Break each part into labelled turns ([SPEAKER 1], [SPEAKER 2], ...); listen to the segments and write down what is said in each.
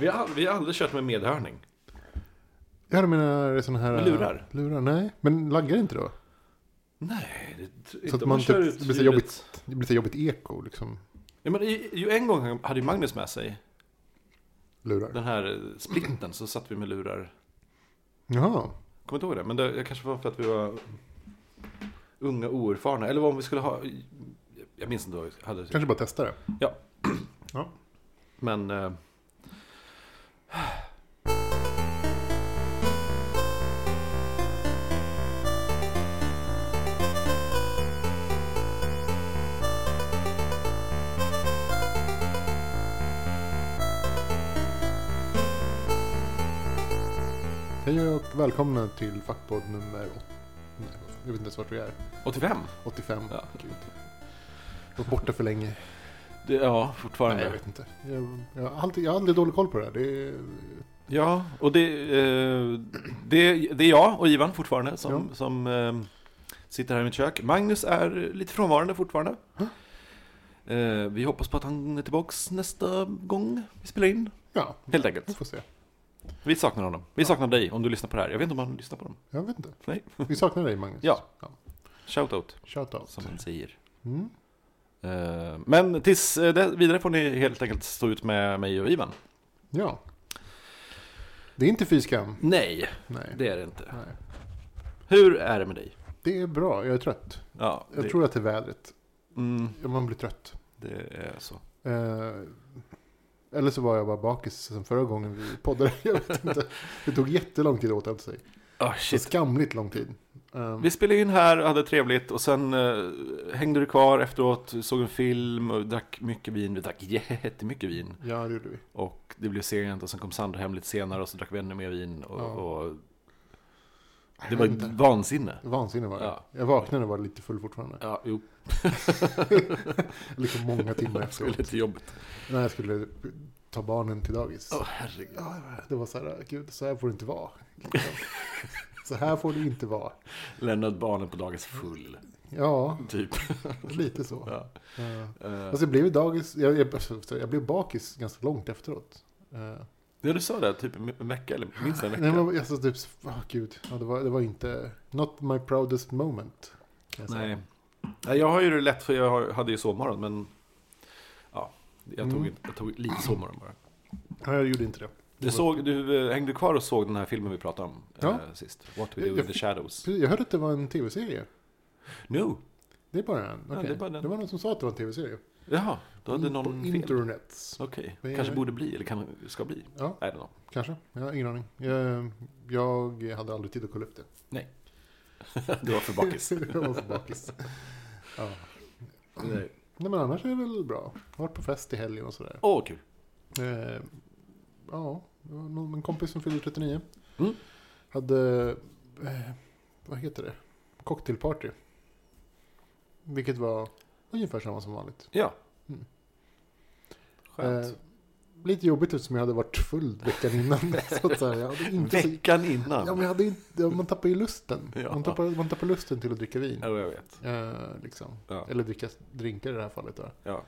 [SPEAKER 1] Vi har, ald- vi har aldrig kört med medhörning.
[SPEAKER 2] Ja, du menar sådana här...
[SPEAKER 1] Med lurar?
[SPEAKER 2] Lurar, nej. Men laggar det inte då?
[SPEAKER 1] Nej, det, inte
[SPEAKER 2] Så att
[SPEAKER 1] om
[SPEAKER 2] man
[SPEAKER 1] kör
[SPEAKER 2] typ-
[SPEAKER 1] ut
[SPEAKER 2] det blir så
[SPEAKER 1] hjulet.
[SPEAKER 2] jobbigt. Det blir så jobbigt eko, liksom.
[SPEAKER 1] Ja, men i- ju en gång hade ju Magnus med sig
[SPEAKER 2] Lurar.
[SPEAKER 1] den här eh, splitten, så satt vi med lurar.
[SPEAKER 2] Jaha.
[SPEAKER 1] Kommer inte ihåg det, men det jag kanske var för att vi var unga oerfarna. Eller vad om vi skulle ha... Jag minns inte vad vi hade.
[SPEAKER 2] Kanske bara testa det.
[SPEAKER 1] Ja.
[SPEAKER 2] Ja.
[SPEAKER 1] Men... Eh,
[SPEAKER 2] Hej och välkomna till Fackpodd nummer... åt- Nej, vad fan, jag vet inte ens vart vi är.
[SPEAKER 1] 85?
[SPEAKER 2] 85.
[SPEAKER 1] Ja.
[SPEAKER 2] Gud. Jag var borta för länge.
[SPEAKER 1] Det, ja,
[SPEAKER 2] Nej, jag
[SPEAKER 1] fortfarande.
[SPEAKER 2] vet inte. Jag, jag, har alltid, jag har aldrig dålig koll på det här. Det är,
[SPEAKER 1] Ja, och det, eh, det, det är jag och Ivan fortfarande som, som eh, sitter här i mitt kök. Magnus är lite frånvarande fortfarande. Eh, vi hoppas på att han är tillbaks nästa gång vi spelar in,
[SPEAKER 2] ja,
[SPEAKER 1] helt
[SPEAKER 2] vi
[SPEAKER 1] enkelt.
[SPEAKER 2] får se.
[SPEAKER 1] Vi saknar honom. Vi saknar dig om du lyssnar på det här. Jag vet inte om han lyssnar på dem.
[SPEAKER 2] Jag vet inte.
[SPEAKER 1] Nej.
[SPEAKER 2] Vi saknar dig, Magnus.
[SPEAKER 1] Ja. Shoutout,
[SPEAKER 2] Shout out.
[SPEAKER 1] som man säger.
[SPEAKER 2] Mm.
[SPEAKER 1] Eh, men tills eh, det, vidare får ni helt enkelt stå ut med mig och Ivan.
[SPEAKER 2] Ja. Det är inte fy skam.
[SPEAKER 1] Nej,
[SPEAKER 2] Nej.
[SPEAKER 1] det är det inte.
[SPEAKER 2] Nej.
[SPEAKER 1] Hur är det med dig?
[SPEAKER 2] Det är bra. Jag är trött.
[SPEAKER 1] Ja,
[SPEAKER 2] Jag
[SPEAKER 1] det,
[SPEAKER 2] tror att det är vädret.
[SPEAKER 1] mm,
[SPEAKER 2] Ja, Man blir trött.
[SPEAKER 1] det är så.
[SPEAKER 2] Eh, eller så var jag bara bakis som förra gången vi poddade. Jag vet inte. Det tog jättelång tid att återhämta sig.
[SPEAKER 1] Ah, shit.
[SPEAKER 2] Skamligt lång tid. Eh,
[SPEAKER 1] Vi spelade in här och hade trevligt och sen eh, hängde du kvar efteråt, såg en film och drack mycket vin. Vi drack jättemycket vin
[SPEAKER 2] Ja, det gjorde vi.
[SPEAKER 1] och det blev sent och sen kom Sandra hem lite senare och så drack vi ännu mer vin och,
[SPEAKER 2] Ja.
[SPEAKER 1] och det
[SPEAKER 2] Jag
[SPEAKER 1] var
[SPEAKER 2] vet inte.
[SPEAKER 1] vansinne.
[SPEAKER 2] Vansinne var det.
[SPEAKER 1] Ja.
[SPEAKER 2] Jag vaknade och var lite full fortfarande.
[SPEAKER 1] Ja, jo,
[SPEAKER 2] Liksom många timmar
[SPEAKER 1] det var
[SPEAKER 2] efteråt.
[SPEAKER 1] lite jobbigt.
[SPEAKER 2] När jag skulle ta barnen till dagis.
[SPEAKER 1] Åh, herregud.
[SPEAKER 2] Ja, det var så här, gud, så här får det inte vara. Liksom. så här får det inte vara.
[SPEAKER 1] Lämnade barnen på dagis full,
[SPEAKER 2] Ja,
[SPEAKER 1] typ.
[SPEAKER 2] lite så.
[SPEAKER 1] Ja.
[SPEAKER 2] Eh,
[SPEAKER 1] Eh,
[SPEAKER 2] Fast jag blev ju dagis, jag, jag, alltså, jag blev bakis ganska långt efteråt. Eh,
[SPEAKER 1] Ja, du sa det, typ en vecka eller minst en
[SPEAKER 2] Nej,
[SPEAKER 1] vecka.
[SPEAKER 2] men alltså typ, oh, gud, ja, det, var, det var inte, not my proudest moment. kan jag säga.
[SPEAKER 1] Nej. Nej, jag har ju det lätt för jag har- hade ju sovmorgon, men ja, jag tog,
[SPEAKER 2] Mm.
[SPEAKER 1] inte- jag tog lite sovmorgon bara.
[SPEAKER 2] Ja, jag gjorde inte det.
[SPEAKER 1] Du, såg, du eh, hängde kvar och såg den här filmen vi pratade om eh,
[SPEAKER 2] Ja.
[SPEAKER 1] sist. What We Do
[SPEAKER 2] Jag-
[SPEAKER 1] in the Shadows.
[SPEAKER 2] Precis, Jag hörde att det var en tv-serie.
[SPEAKER 1] No.
[SPEAKER 2] Det är bara den. Okej.
[SPEAKER 1] det är bara den.
[SPEAKER 2] Det var någon som sa att det var en tv-serie.
[SPEAKER 1] Jaha, då hade
[SPEAKER 2] Mm, På
[SPEAKER 1] någon fel.
[SPEAKER 2] internet.
[SPEAKER 1] Okej,
[SPEAKER 2] Vad är
[SPEAKER 1] kanske
[SPEAKER 2] det?
[SPEAKER 1] borde bli, eller kan, ska bli.
[SPEAKER 2] Ja,
[SPEAKER 1] I don't know.
[SPEAKER 2] kanske. Jag har ingen aning. Jag, jag hade aldrig tid att kolla upp det.
[SPEAKER 1] Du var för bakis.
[SPEAKER 2] jag var för bakis. Ja.
[SPEAKER 1] Nej.
[SPEAKER 2] Nej, men annars är det väl bra. Jag har varit på fest i helgen och sådär.
[SPEAKER 1] Åh, kul.
[SPEAKER 2] Eh, ja, det var någon- en kompis som fyllde 39.
[SPEAKER 1] Mm.
[SPEAKER 2] Hade, eh, vad heter det, cocktailparty. Vilket var ungefär samma som vanligt.
[SPEAKER 1] Ja.
[SPEAKER 2] Mm.
[SPEAKER 1] Skönt.
[SPEAKER 2] Eh, lite jobbigt eftersom jag hade varit full veckan innan. så att så här, jag hade inte så,
[SPEAKER 1] Veckan
[SPEAKER 2] ja,
[SPEAKER 1] innan.
[SPEAKER 2] men jag hade inte, ja, man tappar ju lusten.
[SPEAKER 1] Ja.
[SPEAKER 2] Man, tappar, man tappar lusten till att dricka vin.
[SPEAKER 1] Ja, jag vet.
[SPEAKER 2] Eh, liksom.
[SPEAKER 1] Ja. Mm.
[SPEAKER 2] Eller dricka drinkar i det här fallet. Då.
[SPEAKER 1] Ja.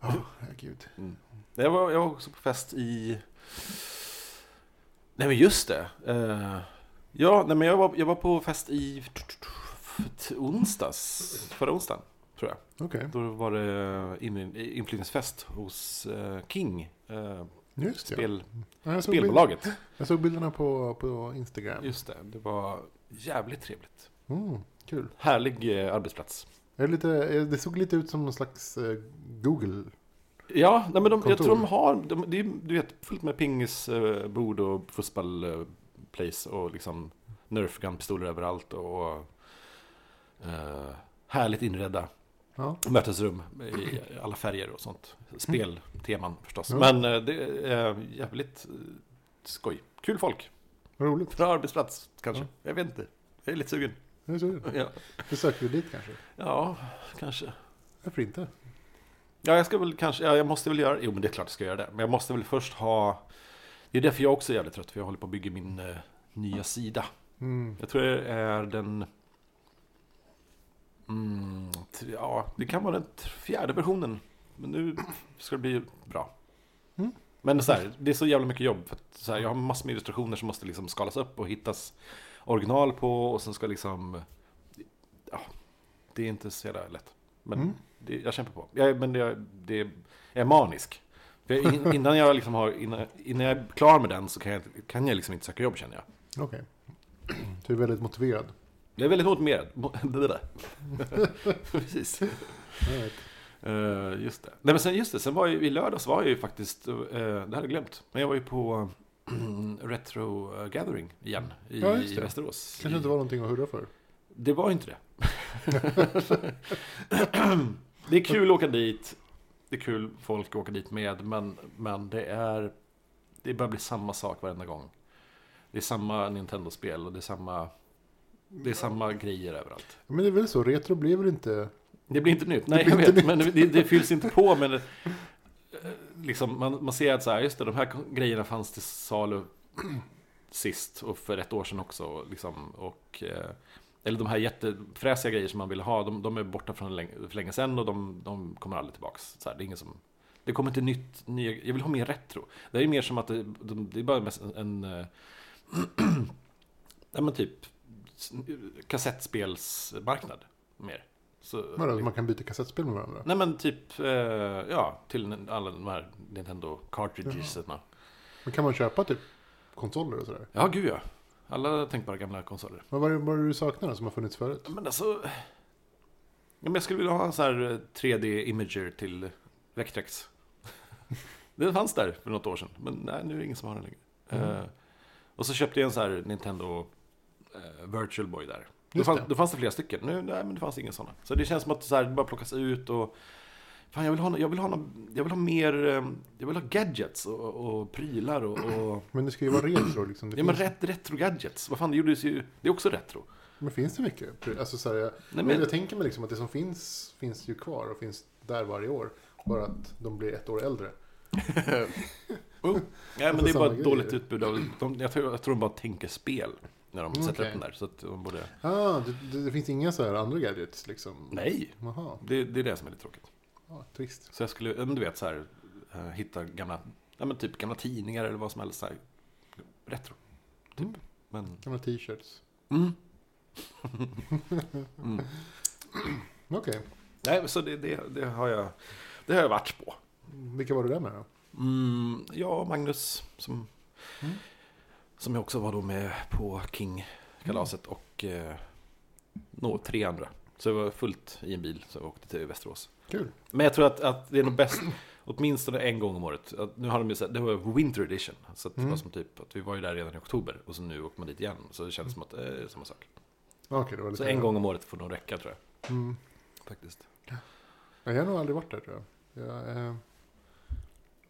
[SPEAKER 2] Ja, herregud.
[SPEAKER 1] Jag, var, jag var också på fest i... Nej, men just det. Eh, ja, nej, men jag var, jag var på fest i onsdags, förra onsdagen, tror jag.
[SPEAKER 2] Okej,
[SPEAKER 1] Då var det eh, in- inflyttningsfest hos eh, King, eh,
[SPEAKER 2] just det.
[SPEAKER 1] spel,
[SPEAKER 2] Ja, jag, såg bild,
[SPEAKER 1] spelbolaget.
[SPEAKER 2] jag såg bilderna på, på Instagram.
[SPEAKER 1] Just det, det var jävligt trevligt.
[SPEAKER 2] Mm, kul.
[SPEAKER 1] Härlig eh, arbetsplats.
[SPEAKER 2] Är det, lite, eh, det såg lite ut som någon slags eh, Google.
[SPEAKER 1] Ja, nej, men de, jag
[SPEAKER 2] Kontor.
[SPEAKER 1] tror de har, de, det är, du vet, fullt med pingisbord och fotbollsplays och liksom nerfgun-pistoler överallt och eh, härligt inredda
[SPEAKER 2] Ja.
[SPEAKER 1] mötesrum i alla färger och sånt. Spelteman förstås.
[SPEAKER 2] Ja.
[SPEAKER 1] Men eh, det är jävligt eh, skoj. Kul folk.
[SPEAKER 2] Vad roligt.
[SPEAKER 1] Bra arbetsplats kanske.
[SPEAKER 2] Ja.
[SPEAKER 1] Jag vet inte. Jag är lite sugen.
[SPEAKER 2] Jag såg det.
[SPEAKER 1] Mm. Ja,
[SPEAKER 2] Då söker vi dit kanske.
[SPEAKER 1] ja kanske.
[SPEAKER 2] Varför inte?
[SPEAKER 1] Ja, jag ska väl kanske, ja, jag måste väl göra, jo men det är klart jag ska göra det. Men jag måste väl först ha, det är därför jag också är jävligt trött, för jag håller på att bygga min eh, nya sida.
[SPEAKER 2] Mm.
[SPEAKER 1] Jag tror det är den, mm, t- ja det kan vara den t- fjärde versionen. Men nu ska det bli bra.
[SPEAKER 2] Mm.
[SPEAKER 1] Men så här, det är så jävla mycket jobb. För att så här, jag har massor med illustrationer som måste liksom skalas upp och hittas original på och sen ska liksom... Ja, det är inte så jävla lätt. Men
[SPEAKER 2] Mm.
[SPEAKER 1] det, jag kämpar på. Jag, men det, det jag är manisk. För jag, in- innan, jag liksom har, innan, innan jag är klar med den så kan jag, kan jag liksom inte söka jobb känner jag.
[SPEAKER 2] Okej. Du är väldigt motiverad.
[SPEAKER 1] Jag är väldigt motiverad. Mo- det där. Precis.
[SPEAKER 2] Jag vet.
[SPEAKER 1] Eh, just det. Nej men sen, just det, sen var jag, ju- i lördags var jag ju faktiskt, eh, det hade jag glömt, men jag var ju på Retro eh, Gathering igen i,
[SPEAKER 2] Ja, just
[SPEAKER 1] i
[SPEAKER 2] det.
[SPEAKER 1] Västerås.
[SPEAKER 2] kanske inte var någonting att hurra för.
[SPEAKER 1] Det var inte det. det är kul att åka dit, det är kul folk att åka dit med, men, men det är, det börjar bli samma sak varenda gång. Det är samma Nintendo-spel och det är samma, det är samma grejer överallt.
[SPEAKER 2] Men det är väl så, retro blir väl inte...
[SPEAKER 1] Det blir inte nytt, nej
[SPEAKER 2] blir
[SPEAKER 1] jag
[SPEAKER 2] inte
[SPEAKER 1] vet, men det, det fylls inte på men det, eh, liksom, man, man ser att så här, just det, de här grejerna fanns till salu sist och för ett år sedan också och liksom, och, eh, eller de här jättefräsiga grejer som man vill ha, de, de är borta från länge, för länge sedan och de, de kommer aldrig tillbaks. Så här, det är ingen som det kommer inte nytt, nya, jag vill ha mer retro. Det är mer som att det, de- det är bara mest en, en eh, ja men typ s- kassettspelsmarknad mer. Så,
[SPEAKER 2] Vadå, att man kan byta kassettspel med varandra?
[SPEAKER 1] Nej men typ, eh, ja, till alla de här Nintendo cartridgeserna.
[SPEAKER 2] Men kan man köpa typ konsoler och sådär?
[SPEAKER 1] Ja, gud ja. Alla tänkbara gamla konsoler.
[SPEAKER 2] Men vad är vad är det du saknar då, som har funnits förut?
[SPEAKER 1] Men alltså... Ja, men jag skulle vilja ha en sån här eh, 3D-imager till Vectrex. Den fanns där för något år sedan, men nej, nu är det ingen som har den längre.
[SPEAKER 2] Mm.
[SPEAKER 1] Eh, och så köpte jag en sån här Nintendo eh, Virtual Boy där. Då,
[SPEAKER 2] Just
[SPEAKER 1] fann,
[SPEAKER 2] det.
[SPEAKER 1] då fanns det flera stycken, nu nej, men det fanns ingen såna. Så det känns som att så här, det bara plockas ut och... Fan, jag vill ha, nå- jag vill ha, nå- jag vill ha mer... eh, Jag vill ha gadgets och, och prylar och... och
[SPEAKER 2] Men det ska ju vara retro liksom. Det
[SPEAKER 1] ja, men
[SPEAKER 2] finns,
[SPEAKER 1] ret, retro-gadgets. Vad fan, det gjordes ju... Det är också retro.
[SPEAKER 2] men finns det mycket? Alltså, så här, jag,
[SPEAKER 1] Nej,
[SPEAKER 2] men...
[SPEAKER 1] men-
[SPEAKER 2] jag tänker mig liksom att det som finns, finns ju kvar och finns där varje år. Bara att de blir ett år äldre.
[SPEAKER 1] Nej, men
[SPEAKER 2] Alltså,
[SPEAKER 1] det är bara
[SPEAKER 2] samma
[SPEAKER 1] ett dåligt
[SPEAKER 2] grejer.
[SPEAKER 1] utbud av... De, jag, tror, jag tror de bara tänker spel när de sätter
[SPEAKER 2] Okej.
[SPEAKER 1] upp den där. Så att de borde...
[SPEAKER 2] Ah, det, det, det finns inga så här andra gadgets liksom?
[SPEAKER 1] Nej!
[SPEAKER 2] Jaha,
[SPEAKER 1] Det, det är det som är lite tråkigt.
[SPEAKER 2] ah, trist.
[SPEAKER 1] Så jag skulle, ja, men du vet så här, eh, hitta gamla, ja men typ gamla tidningar eller vad som helst så här, retro. Typ.
[SPEAKER 2] Mm.
[SPEAKER 1] Men,
[SPEAKER 2] Gamla t-shirts.
[SPEAKER 1] mm. mm.
[SPEAKER 2] Okej,
[SPEAKER 1] Nej, men så det, det, det har jag, det har jag varit på.
[SPEAKER 2] vilka var du där med då?
[SPEAKER 1] Mm, jag och Magnus, som,
[SPEAKER 2] Mm.
[SPEAKER 1] som jag också var då med på King-kalaset
[SPEAKER 2] Mm.
[SPEAKER 1] och eh, nå, tre andra. Så jag var fullt i en bil, så jag åkte till Västerås.
[SPEAKER 2] Kul.
[SPEAKER 1] Men jag tror att, att det är nog bäst, åtminstone en gång om året. Att nu har de ju sett, det var Winter Edition. Så att det
[SPEAKER 2] Mm.
[SPEAKER 1] var som typ, att vi var ju där redan i oktober och så nu åker man dit igen. Så det känns som att eh, det är samma sak.
[SPEAKER 2] Ah, Okej, det var lite...
[SPEAKER 1] Så en gång om året får nog räcka tror jag.
[SPEAKER 2] Mm.
[SPEAKER 1] Faktiskt.
[SPEAKER 2] Ja, Jag har nog aldrig varit där tror jag. Jag, eh,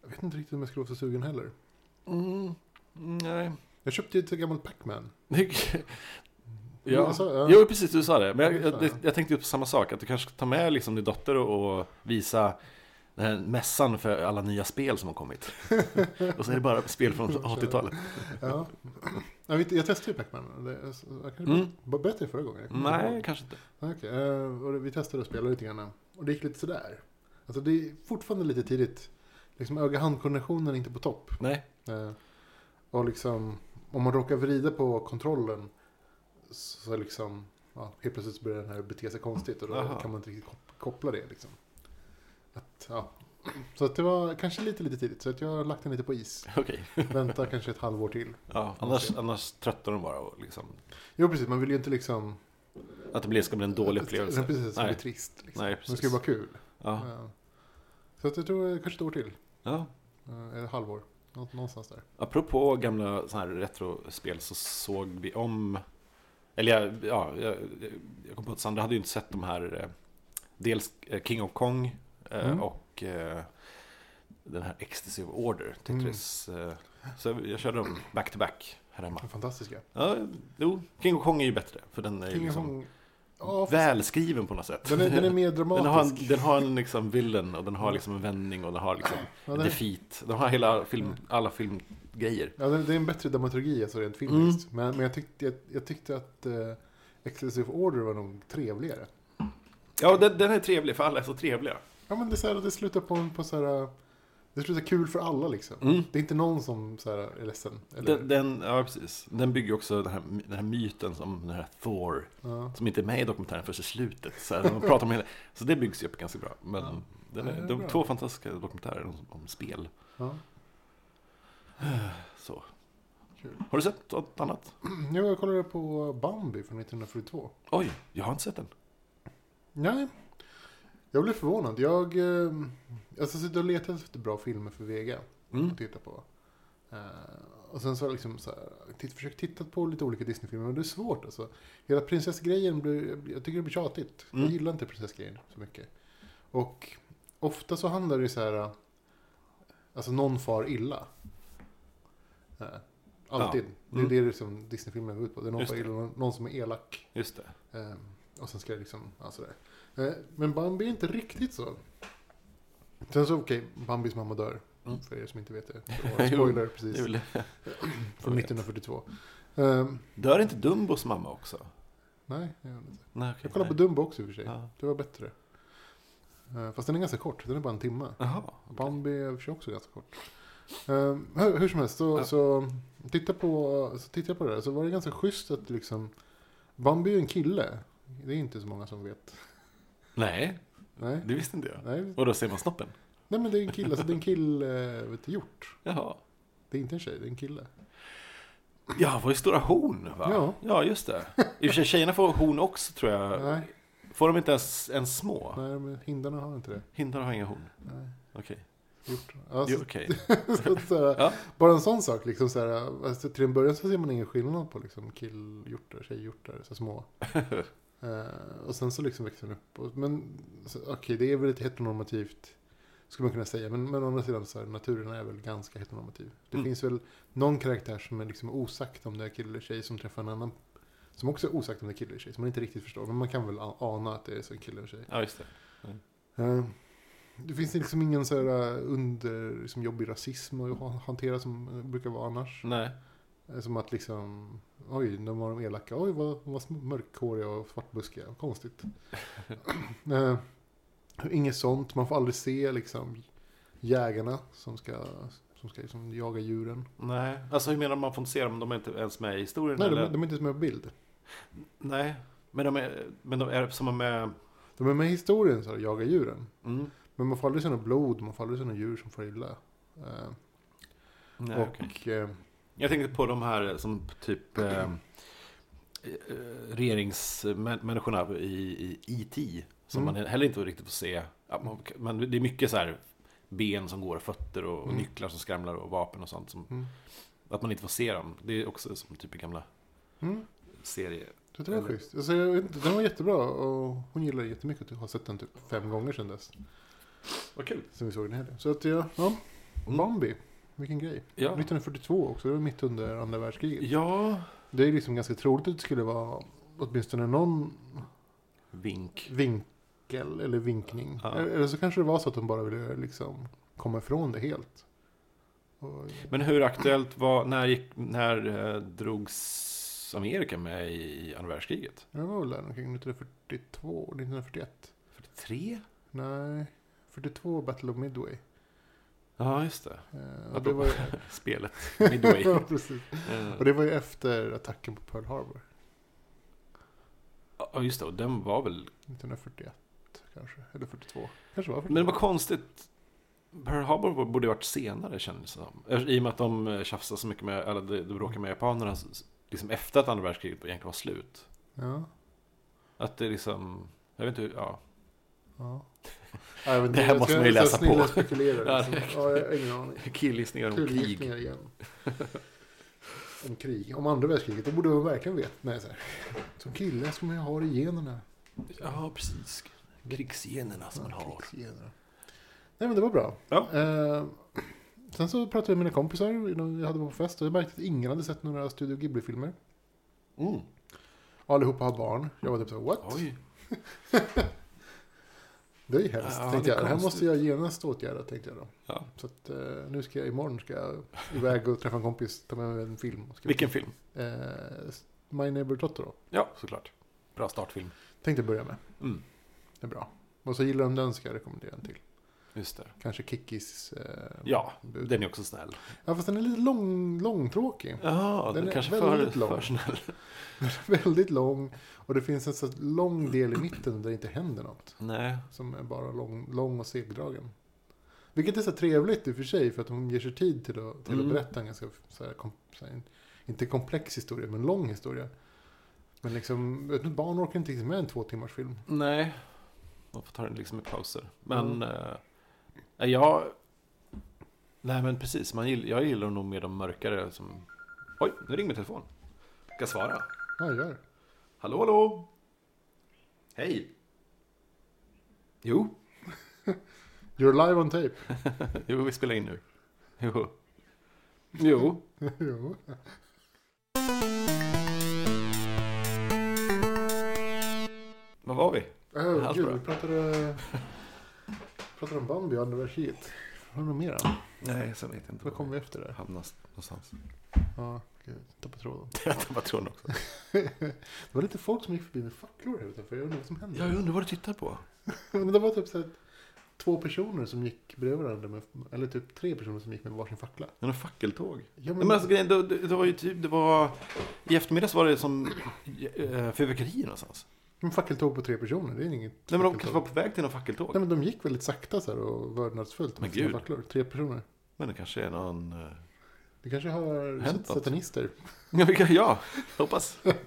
[SPEAKER 2] jag vet inte riktigt om jag skulle vara så sugen heller.
[SPEAKER 1] Mm, nej.
[SPEAKER 2] Jag köpte ju ett gammalt Pac-Man.
[SPEAKER 1] ja.
[SPEAKER 2] Alltså, ja.
[SPEAKER 1] Jo, precis, du sa det. Men
[SPEAKER 2] Ja,
[SPEAKER 1] jag,
[SPEAKER 2] det sa
[SPEAKER 1] jag,
[SPEAKER 2] jag.
[SPEAKER 1] jag tänkte ju på samma sak, att du kanske ska ta med liksom din dotter och, och visa den här mässan för alla nya spel som har kommit. och så är det bara spel från 80-talet.
[SPEAKER 2] Ja. Jag, vet, jag testade ju Pac-Man. Det- Jag kan
[SPEAKER 1] Mm.
[SPEAKER 2] Berättade jag förra gången? Jag kommer inte
[SPEAKER 1] Nej,
[SPEAKER 2] ihåg.
[SPEAKER 1] kanske inte.
[SPEAKER 2] Ah, okej. Eh, och det- vi testade att spela lite grann. Och det gick lite sådär. Alltså det är fortfarande lite tidigt. Liksom öga-handkoordinationen är inte på topp.
[SPEAKER 1] Nej.
[SPEAKER 2] Eh, och liksom, om man råkar vrida på kontrollen så liksom, ja, helt plötsligt så börjar den här bete sig konstigt och då
[SPEAKER 1] Aha.
[SPEAKER 2] kan man inte riktigt kop- koppla det liksom. Att, ja. Så att det var kanske lite, lite tidigt, så att jag har lagt den lite på is.
[SPEAKER 1] Okej.
[SPEAKER 2] Vänta kanske ett halvår till.
[SPEAKER 1] Ja, annars, annars tröttar de bara och liksom...
[SPEAKER 2] Jo, precis, man vill ju inte liksom...
[SPEAKER 1] Att det blir, ska bli en dålig upplevelse.
[SPEAKER 2] Nej, precis, det blir
[SPEAKER 1] Nej.
[SPEAKER 2] trist. Liksom.
[SPEAKER 1] Nej,
[SPEAKER 2] Men det ska
[SPEAKER 1] precis.
[SPEAKER 2] ju vara kul.
[SPEAKER 1] Ja.
[SPEAKER 2] Ja. Så att jag tror eh, kanske ett år till.
[SPEAKER 1] Ja.
[SPEAKER 2] Eh, Ett halvår. Nå- Någonstans där.
[SPEAKER 1] Apropå gamla sån här retrospel så såg vi om... Eller jag, ja, jag, jag kom på att Sandra hade ju inte sett de här... eh, Dels eh, King of Kong eh,
[SPEAKER 2] Mm.
[SPEAKER 1] och eh, den här Ecstasy of Order, Tetris.
[SPEAKER 2] Mm.
[SPEAKER 1] eh, Så jag, jag körde dem back-to-back här hemma.
[SPEAKER 2] Fantastiska.
[SPEAKER 1] Ja, jo, King of Kong är ju bättre, för den är ju
[SPEAKER 2] King of
[SPEAKER 1] liksom
[SPEAKER 2] Kong. Ja, fast
[SPEAKER 1] välskriven på något sätt.
[SPEAKER 2] den är, den är mer
[SPEAKER 1] Den har en,
[SPEAKER 2] dramatisk.
[SPEAKER 1] den har en liksom villain och den har liksom en vändning och den har liksom
[SPEAKER 2] Ja,
[SPEAKER 1] en
[SPEAKER 2] den- Mm.
[SPEAKER 1] defeat. Den har hela film, alla filmgrejer.
[SPEAKER 2] Ja, det, det är en bättre dramaturgi alltså rent
[SPEAKER 1] Mm.
[SPEAKER 2] filmiskt. Men, men jag, tyckte, jag, jag tyckte att eh, Exclusive Order var nog trevligare.
[SPEAKER 1] Ja, den, den är trevlig för alla är så trevliga.
[SPEAKER 2] Ja, men det, är så här, det slutar på, en- på så här... Det skulle vara kul för alla liksom.
[SPEAKER 1] Mm.
[SPEAKER 2] Det är inte någon som så här, är ledsen. Eller,
[SPEAKER 1] Den, den, ja, precis. den bygger också den här, den här myten som den här Thor,
[SPEAKER 2] ja.
[SPEAKER 1] som inte är med i dokumentären förrän i slutet. Så, här, man pratar om hela, så det byggs ju upp ganska bra. Men
[SPEAKER 2] Ja.
[SPEAKER 1] den
[SPEAKER 2] Ja,
[SPEAKER 1] är,
[SPEAKER 2] det är
[SPEAKER 1] de
[SPEAKER 2] bra.
[SPEAKER 1] två fantastiska dokumentärer om, om spel.
[SPEAKER 2] Ja.
[SPEAKER 1] Så.
[SPEAKER 2] Kul.
[SPEAKER 1] Har du sett något annat?
[SPEAKER 2] Jo, jag kollade på Bambi från 1942.
[SPEAKER 1] Oj, jag har inte sett den.
[SPEAKER 2] Nej. Jag blev förvånad. Jag, eh, alltså, sitter och letar efter bra filmer för Vega.
[SPEAKER 1] Mm.
[SPEAKER 2] att titta på. Eh, och sen så har jag liksom så här, titt, försökt titta på lite olika Disney-filmer, men det är svårt alltså. Hela prinsessgrejen, blir, jag tycker det blir tjatigt.
[SPEAKER 1] Mm.
[SPEAKER 2] Jag gillar inte prinsessgrejen så mycket. Och ofta så handlar det ju så här, eh, alltså någon far illa. Eh, alltid. Det är
[SPEAKER 1] Mm.
[SPEAKER 2] det liksom Disney-filmer går ut på. Det är någon
[SPEAKER 1] Just
[SPEAKER 2] far
[SPEAKER 1] det.
[SPEAKER 2] illa, någon- någon som är elak.
[SPEAKER 1] Just det.
[SPEAKER 2] Eh, och sen ska det liksom, ja sådär. Eh, men Bambi är inte riktigt så. Sen så, okej, Bambis mamma dör.
[SPEAKER 1] Mm.
[SPEAKER 2] För er som inte vet det. Det var en
[SPEAKER 1] Jo,
[SPEAKER 2] Spoiler
[SPEAKER 1] det är
[SPEAKER 2] precis. Ehm,
[SPEAKER 1] väl...
[SPEAKER 2] Från 1942. Eh,
[SPEAKER 1] Dör inte Dumbos mamma också?
[SPEAKER 2] nej, jag vet inte.
[SPEAKER 1] Nej, okej,
[SPEAKER 2] Jag kollade på
[SPEAKER 1] nej.
[SPEAKER 2] Dumbo också i och för sig.
[SPEAKER 1] Ja.
[SPEAKER 2] Det var bättre. Eh, fast den är ganska kort, den är bara en timme.
[SPEAKER 1] Jaha. okej.
[SPEAKER 2] Bambi är i och för sig också ganska kort. Eh, hur, hur som helst, så,
[SPEAKER 1] Ja.
[SPEAKER 2] så, titta på, så tittade jag på det där. Så var det ganska schysst att liksom... Bambi är ju en kille. Det är inte så många som vet.
[SPEAKER 1] Nej,
[SPEAKER 2] Nej.
[SPEAKER 1] det visste inte jag.
[SPEAKER 2] Nej,
[SPEAKER 1] Och då ser man snoppen?
[SPEAKER 2] Nej men det är en kille, alltså det är en kille, eh, vet du, gjort.
[SPEAKER 1] Jaha.
[SPEAKER 2] Det är inte en tjej, det är en kille.
[SPEAKER 1] Ja, det var ju stora horn va?
[SPEAKER 2] Ja.
[SPEAKER 1] ja, just det. I och för sig, tjejerna får horn också tror jag.
[SPEAKER 2] Nej,
[SPEAKER 1] Får de inte ens, ens små?
[SPEAKER 2] nej men hindarna har inte det.
[SPEAKER 1] Hindar har inga horn.
[SPEAKER 2] Nej,
[SPEAKER 1] Okej.
[SPEAKER 2] gjort.
[SPEAKER 1] Jo,
[SPEAKER 2] Alltså,
[SPEAKER 1] Okej.
[SPEAKER 2] så att så här,
[SPEAKER 1] Ja.
[SPEAKER 2] Bara en sån sak liksom så här, alltså, till en början så ser man ingen skillnad på liksom killhjortar, tjejhjortar, så små. Eh, och sen så liksom växer den upp. Och- Men så- okej, det är väl lite heteronormativt. Skulle man kunna säga, men, men å andra sidan så här, naturen är väl ganska heteronormativ. Det
[SPEAKER 1] Mm.
[SPEAKER 2] finns väl någon karaktär som är liksom osagt om det är kille eller tjej som träffar en annan. Som också är osagt om det är kille eller tjej, som man inte riktigt förstår. Men man kan väl a- ana att det är så en kille eller tjej.
[SPEAKER 1] Ja, just det.
[SPEAKER 2] Eh, det finns liksom ingen så här eh, under, liksom jobbig rasism att ha- hantera som eh, brukar vara annars.
[SPEAKER 1] Nej. Mm.
[SPEAKER 2] Eh, Som att liksom, oj, nu var de elaka, oj vad, vad sm- mörkhåriga och svartbuskiga, Vad konstigt. eh, inget sånt, man får aldrig se liksom jägarna som ska, som ska liksom, jaga djuren.
[SPEAKER 1] Nej. Alltså hur menar man? Man får inte se dem? De är inte ens med i historien?
[SPEAKER 2] Nej, de,
[SPEAKER 1] eller?
[SPEAKER 2] de är inte ens med på bild.
[SPEAKER 1] Nej. Men de är, men de är som är med...
[SPEAKER 2] De är med i historien, så här, jaga djuren.
[SPEAKER 1] Mm.
[SPEAKER 2] Men man får aldrig se något blod, man får aldrig se något djur som får illa. Eh,
[SPEAKER 1] Nej,
[SPEAKER 2] och
[SPEAKER 1] okej.
[SPEAKER 2] eh,
[SPEAKER 1] Jag tänkte på de här som typ eh, eh, regeringsmänniskorna i i E.T. Som
[SPEAKER 2] Mm.
[SPEAKER 1] man heller inte riktigt får se. Ja, man- Men det är mycket så här ben som går och fötter och, och
[SPEAKER 2] Mm.
[SPEAKER 1] nycklar som skramlar och vapen och sånt. Som,
[SPEAKER 2] mm.
[SPEAKER 1] att man inte får se dem. Det är också som typ i gamla
[SPEAKER 2] Mm.
[SPEAKER 1] serier.
[SPEAKER 2] Så det var
[SPEAKER 1] Eller-
[SPEAKER 2] schysst. Alltså, jag vet inte, den var jättebra och hon gillar den jättemycket. Jag har sett den typ fem gånger sedan dess.
[SPEAKER 1] Vad kul.
[SPEAKER 2] Sen vi såg den i helgen. Så att jag, ja. Bambi, vilken grej.
[SPEAKER 1] Mm. Ja.
[SPEAKER 2] 1942 också, det var mitt under andra världskriget.
[SPEAKER 1] ja.
[SPEAKER 2] Det är liksom ganska troligt att det skulle vara åtminstone någon
[SPEAKER 1] Vink.
[SPEAKER 2] vinkel eller vinkning.
[SPEAKER 1] Ja.
[SPEAKER 2] Eller så kanske det var så att de bara ville liksom komma ifrån det helt. Och,
[SPEAKER 1] Men hur aktuellt var, när, gick, när eh, drogs Amerika med i andra världskriget?
[SPEAKER 2] det var väl där omkring 1942, 1941.
[SPEAKER 1] 43?
[SPEAKER 2] Nej, 42 Battle of Midway.
[SPEAKER 1] Ja, just det.
[SPEAKER 2] Eh, och det
[SPEAKER 1] Apropå
[SPEAKER 2] var ju,
[SPEAKER 1] Spelet Midway.
[SPEAKER 2] ja, precis.
[SPEAKER 1] Eh,
[SPEAKER 2] Och det var ju efter attacken på Pearl Harbor.
[SPEAKER 1] Ja, just det. Och den var väl...
[SPEAKER 2] 1941 kanske, eller 42. Kanske var 42.
[SPEAKER 1] Men det var konstigt. Pearl Harbor borde ju varit senare kändes det som. Eh, I och med att de eh, tjafsade så mycket med, eller det det bråkade med japanerna så- så- liksom efter att andra världskriget egentligen var slut.
[SPEAKER 2] Ja.
[SPEAKER 1] Att det liksom, jag vet inte hur, ja.
[SPEAKER 2] Ja. Nej, men
[SPEAKER 1] Det här
[SPEAKER 2] jag
[SPEAKER 1] måste
[SPEAKER 2] ska-
[SPEAKER 1] man ju
[SPEAKER 2] jag
[SPEAKER 1] läsa
[SPEAKER 2] snillar
[SPEAKER 1] på.
[SPEAKER 2] och spekulerar,
[SPEAKER 1] Ja,
[SPEAKER 2] liksom.
[SPEAKER 1] det-
[SPEAKER 2] ja, jag har ingen aning.
[SPEAKER 1] Killgissningar om krig.
[SPEAKER 2] Kulgissningar igen. Om krig, om andra världskriget, det borde man verkligen veta. Nej, så här. Som kille ska man ju ha det i generna.
[SPEAKER 1] Ja, precis. Krigsgenerna som Alltså, man
[SPEAKER 2] Ja,
[SPEAKER 1] har.
[SPEAKER 2] krigsgenerna. Nej men det var bra.
[SPEAKER 1] Ja.
[SPEAKER 2] Eh, sen så pratade jag med mina kompisar, när vi hade på fest, och jag märkte att ingen hade sett några Studio Ghibli-filmer.
[SPEAKER 1] Mm.
[SPEAKER 2] Allihopa har barn. Jag var typ så här, what?
[SPEAKER 1] Oj.
[SPEAKER 2] Det är ju hemskt,
[SPEAKER 1] Ja,
[SPEAKER 2] tänkte
[SPEAKER 1] det är
[SPEAKER 2] jag. Det här
[SPEAKER 1] konstigt.
[SPEAKER 2] måste jag genast åtgärda, tänkte jag då.
[SPEAKER 1] Ja.
[SPEAKER 2] Så att, eh, nu ska jag, imorgon ska jag iväg och träffa en kompis, ta med mig en film. och Ska
[SPEAKER 1] Vilken film?
[SPEAKER 2] Eh, My Neighbor Totoro.
[SPEAKER 1] Ja, såklart. Bra startfilm.
[SPEAKER 2] Tänkte jag börja med.
[SPEAKER 1] Mm.
[SPEAKER 2] Det är bra. Och så gillar de den ska jag rekommendera en till.
[SPEAKER 1] Just det.
[SPEAKER 2] Kanske Kickis. Eh,
[SPEAKER 1] Ja,
[SPEAKER 2] bud.
[SPEAKER 1] den är också snäll.
[SPEAKER 2] ja, fast den är lite lång, långtråkig.
[SPEAKER 1] Ja,
[SPEAKER 2] Den
[SPEAKER 1] den,
[SPEAKER 2] är
[SPEAKER 1] kanske
[SPEAKER 2] väldigt
[SPEAKER 1] för,
[SPEAKER 2] lång.
[SPEAKER 1] för snäll.
[SPEAKER 2] Väldigt lång. Och det finns en så lång del i mitten där det inte händer något.
[SPEAKER 1] Nej,
[SPEAKER 2] Som är bara lång, lång och segdragen. Vilket är så trevligt i och för sig. För att hon ger sig tid till att, till att
[SPEAKER 1] Mm.
[SPEAKER 2] berätta en ganska, så här, kom, så här, en, inte komplex historia, men lång historia. Men liksom, ett barn orkar inte riktigt med en två timmars film.
[SPEAKER 1] nej. Man får ta den liksom i pauser. Men
[SPEAKER 2] Mm.
[SPEAKER 1] eh, jag... Nej men precis, man gill, jag gillar nog mer de mörkare som... Oj, nu ringer min telefon. Ska svara.
[SPEAKER 2] Ja, gör det.
[SPEAKER 1] Hallå, hallå! Hej! Jo,
[SPEAKER 2] You're live on tape.
[SPEAKER 1] jo vi spelar in nu. Jo. Jo.
[SPEAKER 2] jo.
[SPEAKER 1] Vad var vi?
[SPEAKER 2] Oh,
[SPEAKER 1] Allt
[SPEAKER 2] gud,
[SPEAKER 1] bra.
[SPEAKER 2] vi pratade, pratade om Bambi och universitet. Har du något mer? då?
[SPEAKER 1] Nej, sen vet jag inte.
[SPEAKER 2] Vad kom vi efter där?
[SPEAKER 1] Hamnas någonstans.
[SPEAKER 2] Ja, gud, tappade tråden.
[SPEAKER 1] Jag tappade tråden också.
[SPEAKER 2] Det var lite folk som gick förbi med facklor här utanför. Jag undrar vad som hände.
[SPEAKER 1] Jag undrar vad du tittar på.
[SPEAKER 2] Men det var typ så här, två personer som gick bredvid varandra. Med, eller typ tre personer som gick med varsin fackla.
[SPEAKER 1] En fackeltåg.
[SPEAKER 2] Ja,
[SPEAKER 1] Nej, men alltså, grejen, det, det, det var ju typ, det var... I eftermiddags var det som eh, fyrverkerier någonstans.
[SPEAKER 2] men fackeltåg på tre personer, det är inget
[SPEAKER 1] Nej men de kanske
[SPEAKER 2] fackeltåg.
[SPEAKER 1] var på väg till någon fackeltåg.
[SPEAKER 2] Nej men de gick väldigt sakta så här och vördnadsfullt
[SPEAKER 1] Men
[SPEAKER 2] med sina
[SPEAKER 1] gud.
[SPEAKER 2] facklor. Tre personer.
[SPEAKER 1] Men det kanske är någon... eh,
[SPEAKER 2] Det kanske har
[SPEAKER 1] Hänt något?
[SPEAKER 2] satanister.
[SPEAKER 1] Ja, vi kan- ja, hoppas.
[SPEAKER 2] Nej,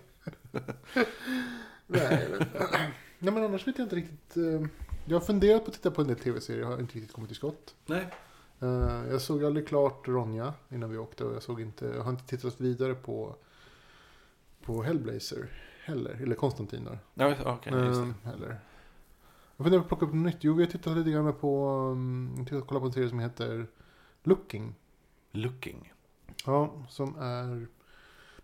[SPEAKER 2] men- Nej men annars vet jag inte riktigt. eh, Jag har funderat på att titta på en del tv-serier, jag har inte riktigt kommit till skott.
[SPEAKER 1] Nej.
[SPEAKER 2] Eh, Jag såg aldrig klart Ronja innan vi åkte och jag, såg inte, jag har inte tittat vidare på, på Hellblazer heller. Eller Konstantin då.
[SPEAKER 1] Ja, okej, just det.
[SPEAKER 2] Eh, heller. Jag funderar på att plocka upp något nytt. Jo, vi har tittat lite grann på, um, tittat, kollat på en serie som heter Looking.
[SPEAKER 1] Looking.
[SPEAKER 2] Ja, som är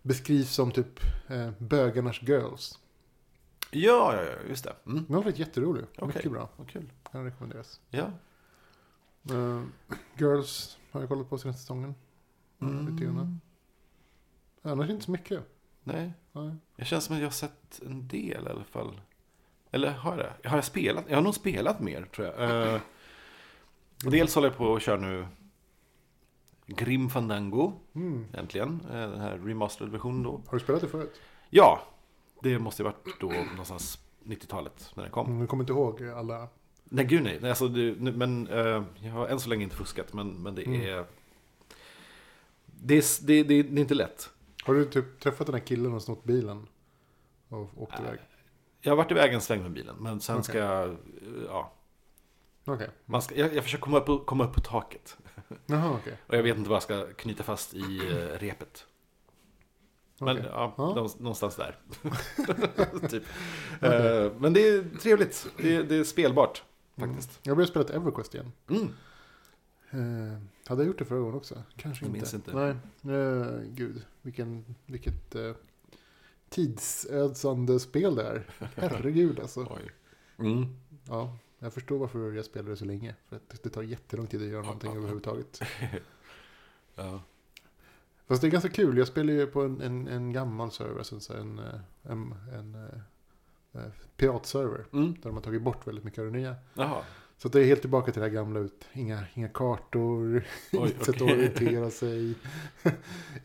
[SPEAKER 2] beskrivs som typ eh, bögarnas girls.
[SPEAKER 1] Ja, ja, ja, just det. Mm.
[SPEAKER 2] Den har varit jätterolig.
[SPEAKER 1] Okej.
[SPEAKER 2] Mycket bra.
[SPEAKER 1] Vad kul.
[SPEAKER 2] Kan rekommenderas.
[SPEAKER 1] Ja.
[SPEAKER 2] Eh, Girls har jag kollat på senaste säsongen. Mm. Lite grann. Annars inte så mycket.
[SPEAKER 1] Nej.
[SPEAKER 2] Nej.
[SPEAKER 1] Jag känns som att jag har sett en del i alla fall. Eller har jag det? Har jag spelat? Jag har nog spelat mer, tror jag. Eh, dels håller jag på och kör nu Grim Fandango,
[SPEAKER 2] Mm.
[SPEAKER 1] äntligen. Eh, den här remastered-versionen då.
[SPEAKER 2] Har du spelat det förut?
[SPEAKER 1] Ja, det måste ju varit då någonstans 90-talet när den kom.
[SPEAKER 2] Mm, jag kommer inte ihåg alla.
[SPEAKER 1] Nej, gud nej. nej alltså, det, nu- men, eh, jag har än så länge inte fuskat, men, men det
[SPEAKER 2] Mm.
[SPEAKER 1] är... Det är, s- det, det, det är inte lätt.
[SPEAKER 2] Har du typ träffat den här killen och snott bilen? Och åkt
[SPEAKER 1] Nej.
[SPEAKER 2] iväg?
[SPEAKER 1] Jag har varit iväg en sväng med bilen, men sen
[SPEAKER 2] Okej.
[SPEAKER 1] ska jag... eh, Ja,
[SPEAKER 2] Okej.
[SPEAKER 1] man ska, jag, jag försöker komma upp, och- komma upp på taket.
[SPEAKER 2] Jaha, okej.
[SPEAKER 1] Och jag vet inte vad jag ska knyta fast i eh, repet. Men
[SPEAKER 2] Okej.
[SPEAKER 1] ja,
[SPEAKER 2] Ja.
[SPEAKER 1] någonstans- någonstans där. typ.
[SPEAKER 2] Okej.
[SPEAKER 1] Eh, men det är trevligt. Det, är- det är spelbart, faktiskt.
[SPEAKER 2] Mm. Jag började spela ett Everquest igen.
[SPEAKER 1] Mm.
[SPEAKER 2] Eh, hade jag gjort det förra gången också? Kanske
[SPEAKER 1] Jag
[SPEAKER 2] inte.
[SPEAKER 1] minns inte.
[SPEAKER 2] Nej, eh, gud. Vilken, vilket eh, tidsödsande spel det är. Herregud alltså.
[SPEAKER 1] Oj. Mm.
[SPEAKER 2] Ja, jag förstår varför jag spelade så länge. För att det tar jättelång tid att göra någonting överhuvudtaget.
[SPEAKER 1] Ja.
[SPEAKER 2] Fast det är ganska kul. Jag spelar ju på en, en, en gammal server, alltså en, så här, en, eh, en, en eh, eh, piratserver.
[SPEAKER 1] Mm.
[SPEAKER 2] Där de har tagit bort väldigt mycket av det nya.
[SPEAKER 1] Jaha.
[SPEAKER 2] Så att det är helt tillbaka till det här gamla ut. Inga, inga kartor,
[SPEAKER 1] Oj,
[SPEAKER 2] inget sätt att
[SPEAKER 1] okej.
[SPEAKER 2] orientera sig.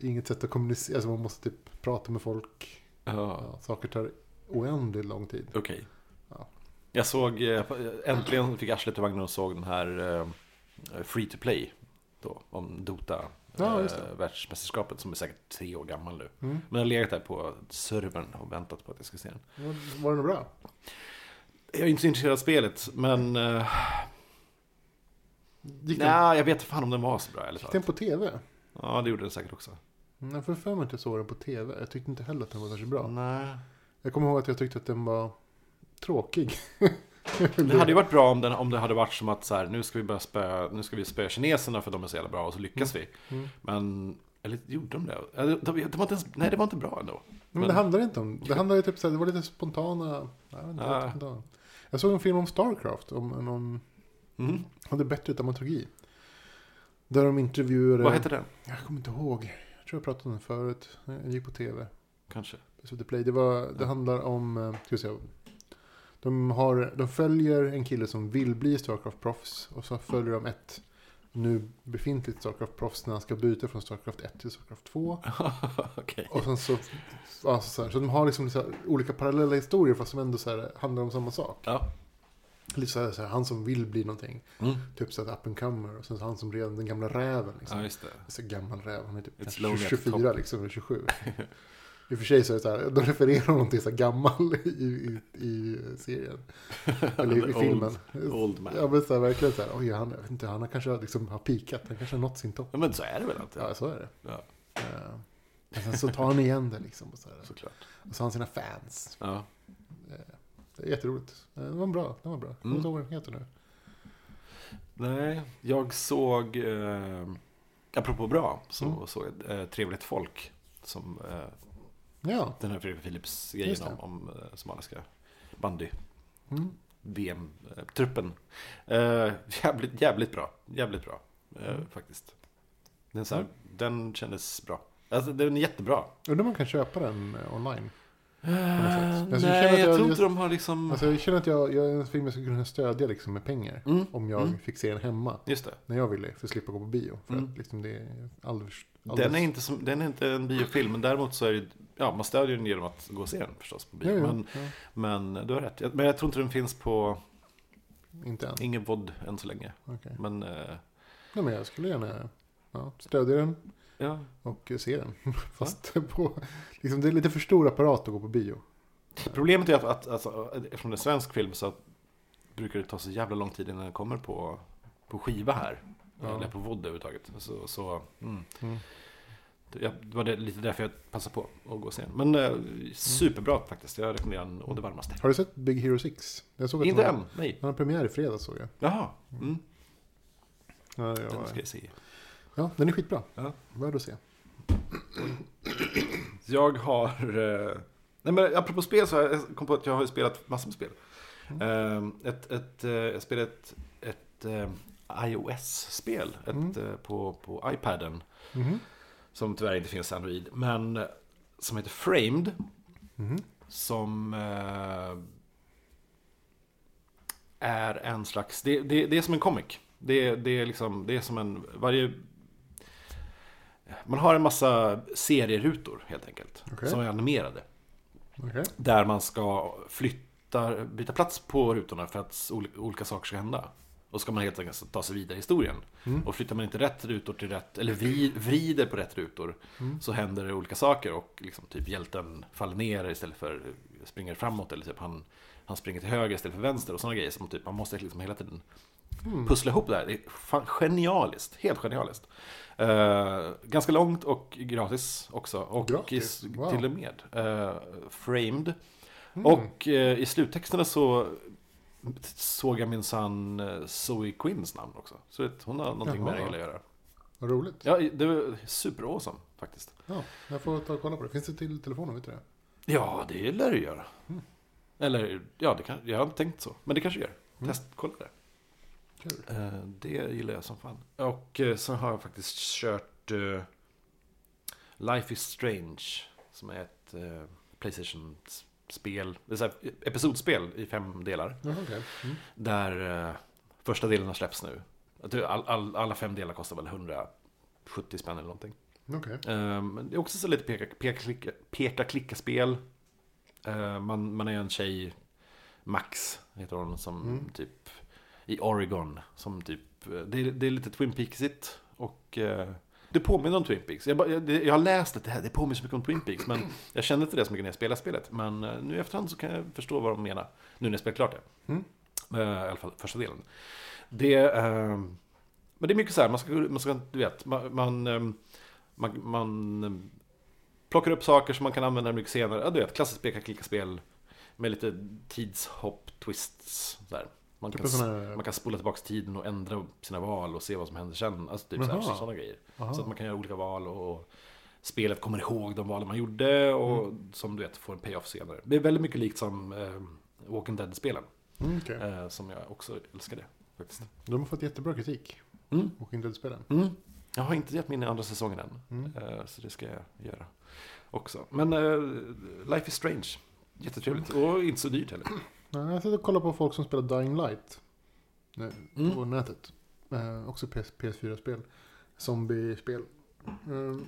[SPEAKER 2] inget sätt att kommunicera, alltså man måste typ prata med folk.
[SPEAKER 1] Ja.
[SPEAKER 2] Ja, saker tar oändligt lång tid.
[SPEAKER 1] Okej.
[SPEAKER 2] Ja.
[SPEAKER 1] Jag såg, eh, äntligen fick jag arslet ur vagnen och såg den här eh, Free to Play. Då, om Dota.
[SPEAKER 2] Ja,
[SPEAKER 1] eh,
[SPEAKER 2] just det.
[SPEAKER 1] världsmästerskapet som är säkert tre år gammal nu.
[SPEAKER 2] Mm.
[SPEAKER 1] Men jag har legat där på servern och väntat på att jag ska se den.
[SPEAKER 2] Var, var det bra?
[SPEAKER 1] Jag är inte så intresserad av spelet, men... Uh,
[SPEAKER 2] Gick den,
[SPEAKER 1] nej, jag vet fan om den var så bra, eller
[SPEAKER 2] gick den på tv?
[SPEAKER 1] Ja, det gjorde den säkert också.
[SPEAKER 2] Mm, Jag får för mig att jag såg den på tv. Jag tyckte inte heller att den var särskilt bra.
[SPEAKER 1] Nej.
[SPEAKER 2] Jag kommer ihåg att jag tyckte att den var tråkig.
[SPEAKER 1] Det hade ju varit bra om, den, om det hade varit som att så här, nu ska vi börja spöa, nu ska vi spöa kineserna för de är så jävla bra och så lyckas vi.
[SPEAKER 2] Mm.
[SPEAKER 1] Men, eller gjorde de det? Eller, de, de var inte ens, nej, det var inte bra ändå.
[SPEAKER 2] Men, det handlar inte om... Det handlar ju typ så här, det var lite spontana... Jag, vet inte,
[SPEAKER 1] Ah.
[SPEAKER 2] lite spontana. jag såg en film om Starcraft, om, om, om
[SPEAKER 1] Mhm.
[SPEAKER 2] hade bättre dramaturgi. Där de intervjuade...
[SPEAKER 1] Vad heter den?
[SPEAKER 2] Jag kommer inte ihåg. Jag tror jag pratade om den förut. Den gick på tv.
[SPEAKER 1] Kanske.
[SPEAKER 2] Så det, play. det, var, det
[SPEAKER 1] Ja.
[SPEAKER 2] handlar om... eh, Ska vi se, De, har, de följer en kille som vill bli Starcraft-proffs och så följer de ett nu befintligt Starcraft-proffs när han ska byta från Starcraft 1 till Starcraft 2.
[SPEAKER 1] Okej.
[SPEAKER 2] Och sen så, alltså så, här, så de har liksom så här, olika parallella historier fast som ändå så här, handlar om samma sak.
[SPEAKER 1] Ja.
[SPEAKER 2] Lite så här, så här, han som vill bli någonting,
[SPEAKER 1] Mm.
[SPEAKER 2] typ så här up and comer. Och sen så han som redan, den gamla räven liksom.
[SPEAKER 1] ja, just det.
[SPEAKER 2] Så gammal räv, han är typ
[SPEAKER 1] It's
[SPEAKER 2] kanske
[SPEAKER 1] lonely at the
[SPEAKER 2] 24 liksom, eller 27. I och för sig så är det så här, de refererar honom till så här gammal i, i, i serien. Eller i, i
[SPEAKER 1] Old-
[SPEAKER 2] filmen.
[SPEAKER 1] Old man.
[SPEAKER 2] Ja men så här, verkligen så här, oj han, jag vet inte, han har kanske liksom har pikat, han kanske har nått sin topp.
[SPEAKER 1] Ja, men så är det väl alltid?
[SPEAKER 2] Ja så är det.
[SPEAKER 1] Ja,
[SPEAKER 2] Eh, Men sen så tar han igen det liksom. Och så, här.
[SPEAKER 1] såklart.
[SPEAKER 2] Och så har han sina fans.
[SPEAKER 1] Ja.
[SPEAKER 2] Eh, Det är jätteroligt. Eh, Den var bra, den var bra.
[SPEAKER 1] Mm.
[SPEAKER 2] Jag kommer inte ihåg vad den heter nu.
[SPEAKER 1] Nej, jag såg, eh, apropå bra, så
[SPEAKER 2] Mm.
[SPEAKER 1] såg jag eh, Trevligt folk. Som eh,
[SPEAKER 2] Ja.
[SPEAKER 1] den här Fredrik Philips-grejen
[SPEAKER 2] Just det.
[SPEAKER 1] om, om eh, som alla ska bandy.
[SPEAKER 2] Mm.
[SPEAKER 1] VM-truppen. Eh, jävligt, jävligt bra. Jävligt bra. Eh, Faktiskt. Den, så här, den kändes bra. Alltså den är jättebra.
[SPEAKER 2] Undrar om man kan köpa den eh, online.
[SPEAKER 1] Eh,
[SPEAKER 2] Jag känner
[SPEAKER 1] nej,
[SPEAKER 2] att
[SPEAKER 1] jag,
[SPEAKER 2] jag
[SPEAKER 1] tror
[SPEAKER 2] just-
[SPEAKER 1] inte de har liksom...
[SPEAKER 2] Alltså jag känner att jag, jag är en film jag skulle kunna stödja liksom med pengar.
[SPEAKER 1] Mm.
[SPEAKER 2] Om jag
[SPEAKER 1] Mm.
[SPEAKER 2] fick se den hemma.
[SPEAKER 1] Just det.
[SPEAKER 2] När jag ville, för att slippa gå på bio. För
[SPEAKER 1] Mm.
[SPEAKER 2] att liksom det är alldeles...
[SPEAKER 1] Den är, inte som, den är inte en biofilm, men däremot så är det, ja, man stödjer den genom att gå och se den förstås på bio.
[SPEAKER 2] Ja, ja,
[SPEAKER 1] Men, men du har rätt, Jag- men jag tror inte den finns på
[SPEAKER 2] ja. Inte än.
[SPEAKER 1] ingen VOD än så länge.
[SPEAKER 2] Okej.
[SPEAKER 1] Men eh,
[SPEAKER 2] Nej men jag skulle gärna ja, stödja den
[SPEAKER 1] ja,
[SPEAKER 2] och eh, se den. Fast på... Liksom det är lite för stor apparat att gå på bio.
[SPEAKER 1] Problemet är att, att alltså, eftersom det är svensk film så brukar det ta så jävla lång tid innan den kommer på, på skiva här.
[SPEAKER 2] Ja.
[SPEAKER 1] Eller på vod överhuvudtaget. Så, så, mm.
[SPEAKER 2] Mm.
[SPEAKER 1] Det- jag- det var det, lite därför jag passade på att gå och se den. Men eh, superbra faktiskt. Jag rekommenderar den å det varmaste.
[SPEAKER 2] Mm. Har du sett Big Hero 6? Jag såg att
[SPEAKER 1] Inte
[SPEAKER 2] den
[SPEAKER 1] än,
[SPEAKER 2] har-
[SPEAKER 1] nej.
[SPEAKER 2] Den har premiär i fredags såg jag.
[SPEAKER 1] Jaha, mm.
[SPEAKER 2] Ja,
[SPEAKER 1] den ska
[SPEAKER 2] jag
[SPEAKER 1] jag se.
[SPEAKER 2] ja, den är skitbra.
[SPEAKER 1] Ja.
[SPEAKER 2] Värd att se.
[SPEAKER 1] Jag har... Eh, nej men apropå spel så har jag kom på att jag har ju spelat massor med spel. Eh, ett, ett, eh, jag spelade ett, ett eh, iOS-spel ett, eh, på, på iPaden.
[SPEAKER 2] Mhm.
[SPEAKER 1] Som tyvärr inte finns i Android. Men eh, som heter Framed.
[SPEAKER 2] Mhm.
[SPEAKER 1] Som eh, är en slags... Det, det, det är som en comic. Det, det, är liksom, det är som en... Varje... Man har en massa serierutor helt enkelt.
[SPEAKER 2] Okej.
[SPEAKER 1] Som är animerade.
[SPEAKER 2] Okej.
[SPEAKER 1] Där man ska flytta, byta plats på rutorna för att ol- olika saker ska hända. Och ska man helt enkelt ta sig vidare i historien. Och flyttar man inte rätt rutor till rätt, eller vri- vrider på rätt rutor, så händer det olika saker. Och liksom typ hjälten faller ner istället för springer framåt. Eller typ han, han springer till höger istället för vänster. Och sådana grejer som typ, man måste liksom hela tiden
[SPEAKER 2] Mm.
[SPEAKER 1] pussla ihop det här. Det är fan genialiskt, helt genialiskt. Eh, ganska långt och gratis också. Och
[SPEAKER 2] Gratis?
[SPEAKER 1] till
[SPEAKER 2] Wow. Mm.
[SPEAKER 1] och med. eh, framed. Och eh, i sluttexterna så såg jag minsann eh, Zoe Quinns namn också. Så vet, hon har någonting med det
[SPEAKER 2] Jaha.
[SPEAKER 1] hela att göra.
[SPEAKER 2] Vad roligt.
[SPEAKER 1] Ja, det var super awesome faktiskt.
[SPEAKER 2] Ja, jag får ta och kolla på det. Finns det till telefonen? Vet du det?
[SPEAKER 1] Ja, det lär det göra. Eller, ja, det kan, jag har inte tänkt så. Men det kanske gör. Test, kolla det.
[SPEAKER 2] Kul.
[SPEAKER 1] Mm. Eh, Det gillar jag som fan. Och eh, sen har jag faktiskt kört eh, Life is Strange. Som är ett eh, Playstation-spel. Det är så här, episodspel i fem delar.
[SPEAKER 2] Jaha, okej. Mm.
[SPEAKER 1] Där eh, första delen har släppts nu. Att det- All, all, alla fem delar kostar väl 170 spänn eller någonting.
[SPEAKER 2] Okej.
[SPEAKER 1] Eh, men det är också så lite peka, peka, klicka, peka klicka spel. Eh, man, man är en tjej, Max heter hon, som typ i Oregon. Som typ, eh, det, är, det är lite Twin Peaksigt och eh, det påminner om Twin Peaks. Jag, bara- jag, det- jag har läst att det här, det påminner så mycket om Twin Peaks, men jag kände inte det så mycket när jag spelade spelet. Men eh, nu i efterhand så kan jag förstå vad de menar, nu när jag spelat klart det.
[SPEAKER 2] Mm.
[SPEAKER 1] Eh, I alla fall första delen. Det, eh, men det är mycket så här, man ska, man ska du vet, man, man, eh, man, man eh, plockar upp saker som man kan använda mycket senare. Ja, du vet, klassiskt peka-klicka-spel med lite tidshopp, twists. Så här. Man,
[SPEAKER 2] Typ
[SPEAKER 1] kan,
[SPEAKER 2] en sån här-
[SPEAKER 1] s- man kan spola tillbaka tiden och ändra sina val och se vad som händer sen. Alltså typ
[SPEAKER 2] Jaha.
[SPEAKER 1] sådana grejer.
[SPEAKER 2] Aha.
[SPEAKER 1] Så att man kan göra olika val och, och spelet kommer ihåg de valen man gjorde och
[SPEAKER 2] Mm.
[SPEAKER 1] som du vet får en payoff senare. Det är väldigt mycket likt som eh, Walking Dead-spelen.
[SPEAKER 2] Mm, okej.
[SPEAKER 1] Eh, som jag också älskade faktiskt.
[SPEAKER 2] De har fått jättebra kritik.
[SPEAKER 1] Mm.
[SPEAKER 2] Och inte spelen.
[SPEAKER 1] Mm. Jag har inte gett mig in i andra säsongen än.
[SPEAKER 2] Mm.
[SPEAKER 1] Eh, Så det ska jag göra också. Men eh, Life is Strange. Jättetrevligt och inte så dyrt heller.
[SPEAKER 2] Nej, jag sitter och kollar på folk som spelar Dying Light. Nu,
[SPEAKER 1] Mm.
[SPEAKER 2] På nätet. Eh, också PS, PS4-spel. Zombie-spel. Eh,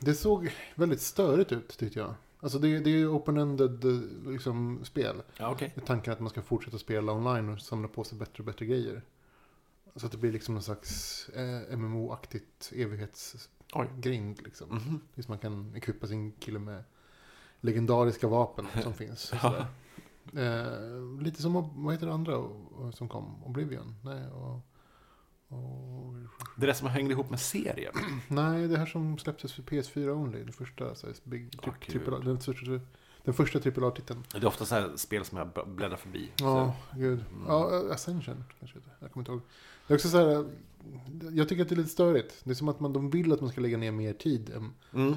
[SPEAKER 2] det såg väldigt störigt ut tyckte jag. Alltså det, det är ju open-ended eh, liksom, spel.
[SPEAKER 1] Ja, okej.
[SPEAKER 2] Med tanken att man ska fortsätta spela online och samla på sig bättre och bättre grejer. Så att det blir liksom någon slags eh, MMO-aktigt
[SPEAKER 1] Oj.
[SPEAKER 2] evighetsgrind liksom.
[SPEAKER 1] Mhm.
[SPEAKER 2] Tills man kan ekipa sin kille med legendariska vapen som finns. och sådär. eh, lite som, Ob- vad heter det andra och, och, som kom? Oblivion? Nej, och, och,
[SPEAKER 1] Det är det som hängde ihop med serien.
[SPEAKER 2] nej, det här som släpptes för PS4 Only. Den första, så här, big,
[SPEAKER 1] Ah,
[SPEAKER 2] tri-
[SPEAKER 1] kul.
[SPEAKER 2] triple, A- den, första- den första AAA-titeln.
[SPEAKER 1] Det är ofta så här spel som jag b- bläddrar förbi.
[SPEAKER 2] Ja, gud.
[SPEAKER 1] Mm.
[SPEAKER 2] Ja, Ascension kanske det heter. Jag kommer inte ihåg. Det är också så här, jag tycker att det är lite störigt. Det är som att man, de vill att man ska lägga ner mer tid än
[SPEAKER 1] Så. Mm.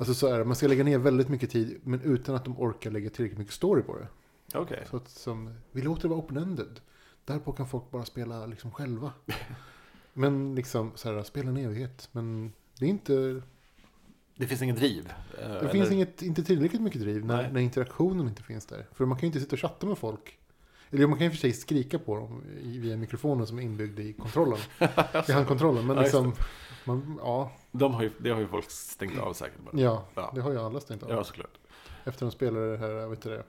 [SPEAKER 2] Alltså så är det, man ska lägga ner väldigt mycket tid men utan att de orkar lägga tillräckligt mycket story på det.
[SPEAKER 1] Okej.
[SPEAKER 2] Så att som, vi låter det vara open-ended. Därpå kan folk bara spela liksom själva. Men liksom så här, spela en evighet. Men det är inte, det
[SPEAKER 1] Det finns ingen driv. eh, Det
[SPEAKER 2] finns inget, inte tillräckligt mycket driv när,
[SPEAKER 1] Nej.
[SPEAKER 2] när interaktionen inte finns där. För man kan ju inte sitta och chatta med folk. Eller man kan i och för sig skrika på dem i- via mikrofonen som är inbyggd i kontrollen. I handkontrollen. Men
[SPEAKER 1] Ja, just
[SPEAKER 2] liksom, man, ja,
[SPEAKER 1] De har ju, det har ju folk stängt av säkert bara.
[SPEAKER 2] ja,
[SPEAKER 1] Ja.
[SPEAKER 2] det har ju alla stängt av.
[SPEAKER 1] Ja, såklart.
[SPEAKER 2] Efter de spelade det här, vet du det?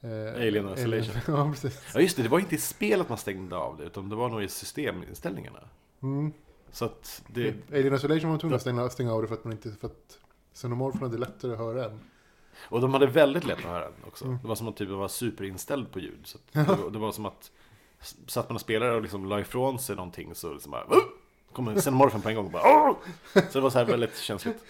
[SPEAKER 2] Eh,
[SPEAKER 1] Alien Isolation.
[SPEAKER 2] ja, precis.
[SPEAKER 1] Ja, just det. Det var inte i spel att man stängde av det, utan det var nog i systeminställningarna.
[SPEAKER 2] Mm.
[SPEAKER 1] Så att det...
[SPEAKER 2] Alien Isolation var man tvungen att stänga, stänga av det för att man inte... För att Xenomorphen hade lättare att höra än.
[SPEAKER 1] Och de hade väldigt lätt att höra den också.
[SPEAKER 2] Mm.
[SPEAKER 1] Det var som att typ var superinställd på ljud. Så att det, det var som att... s- Satt man och spelade och liksom la ifrån sig någonting så liksom bara... "Åh!" Kom en xenomorfen på en gång och bara... "Åh!" Så det var så här väldigt känsligt.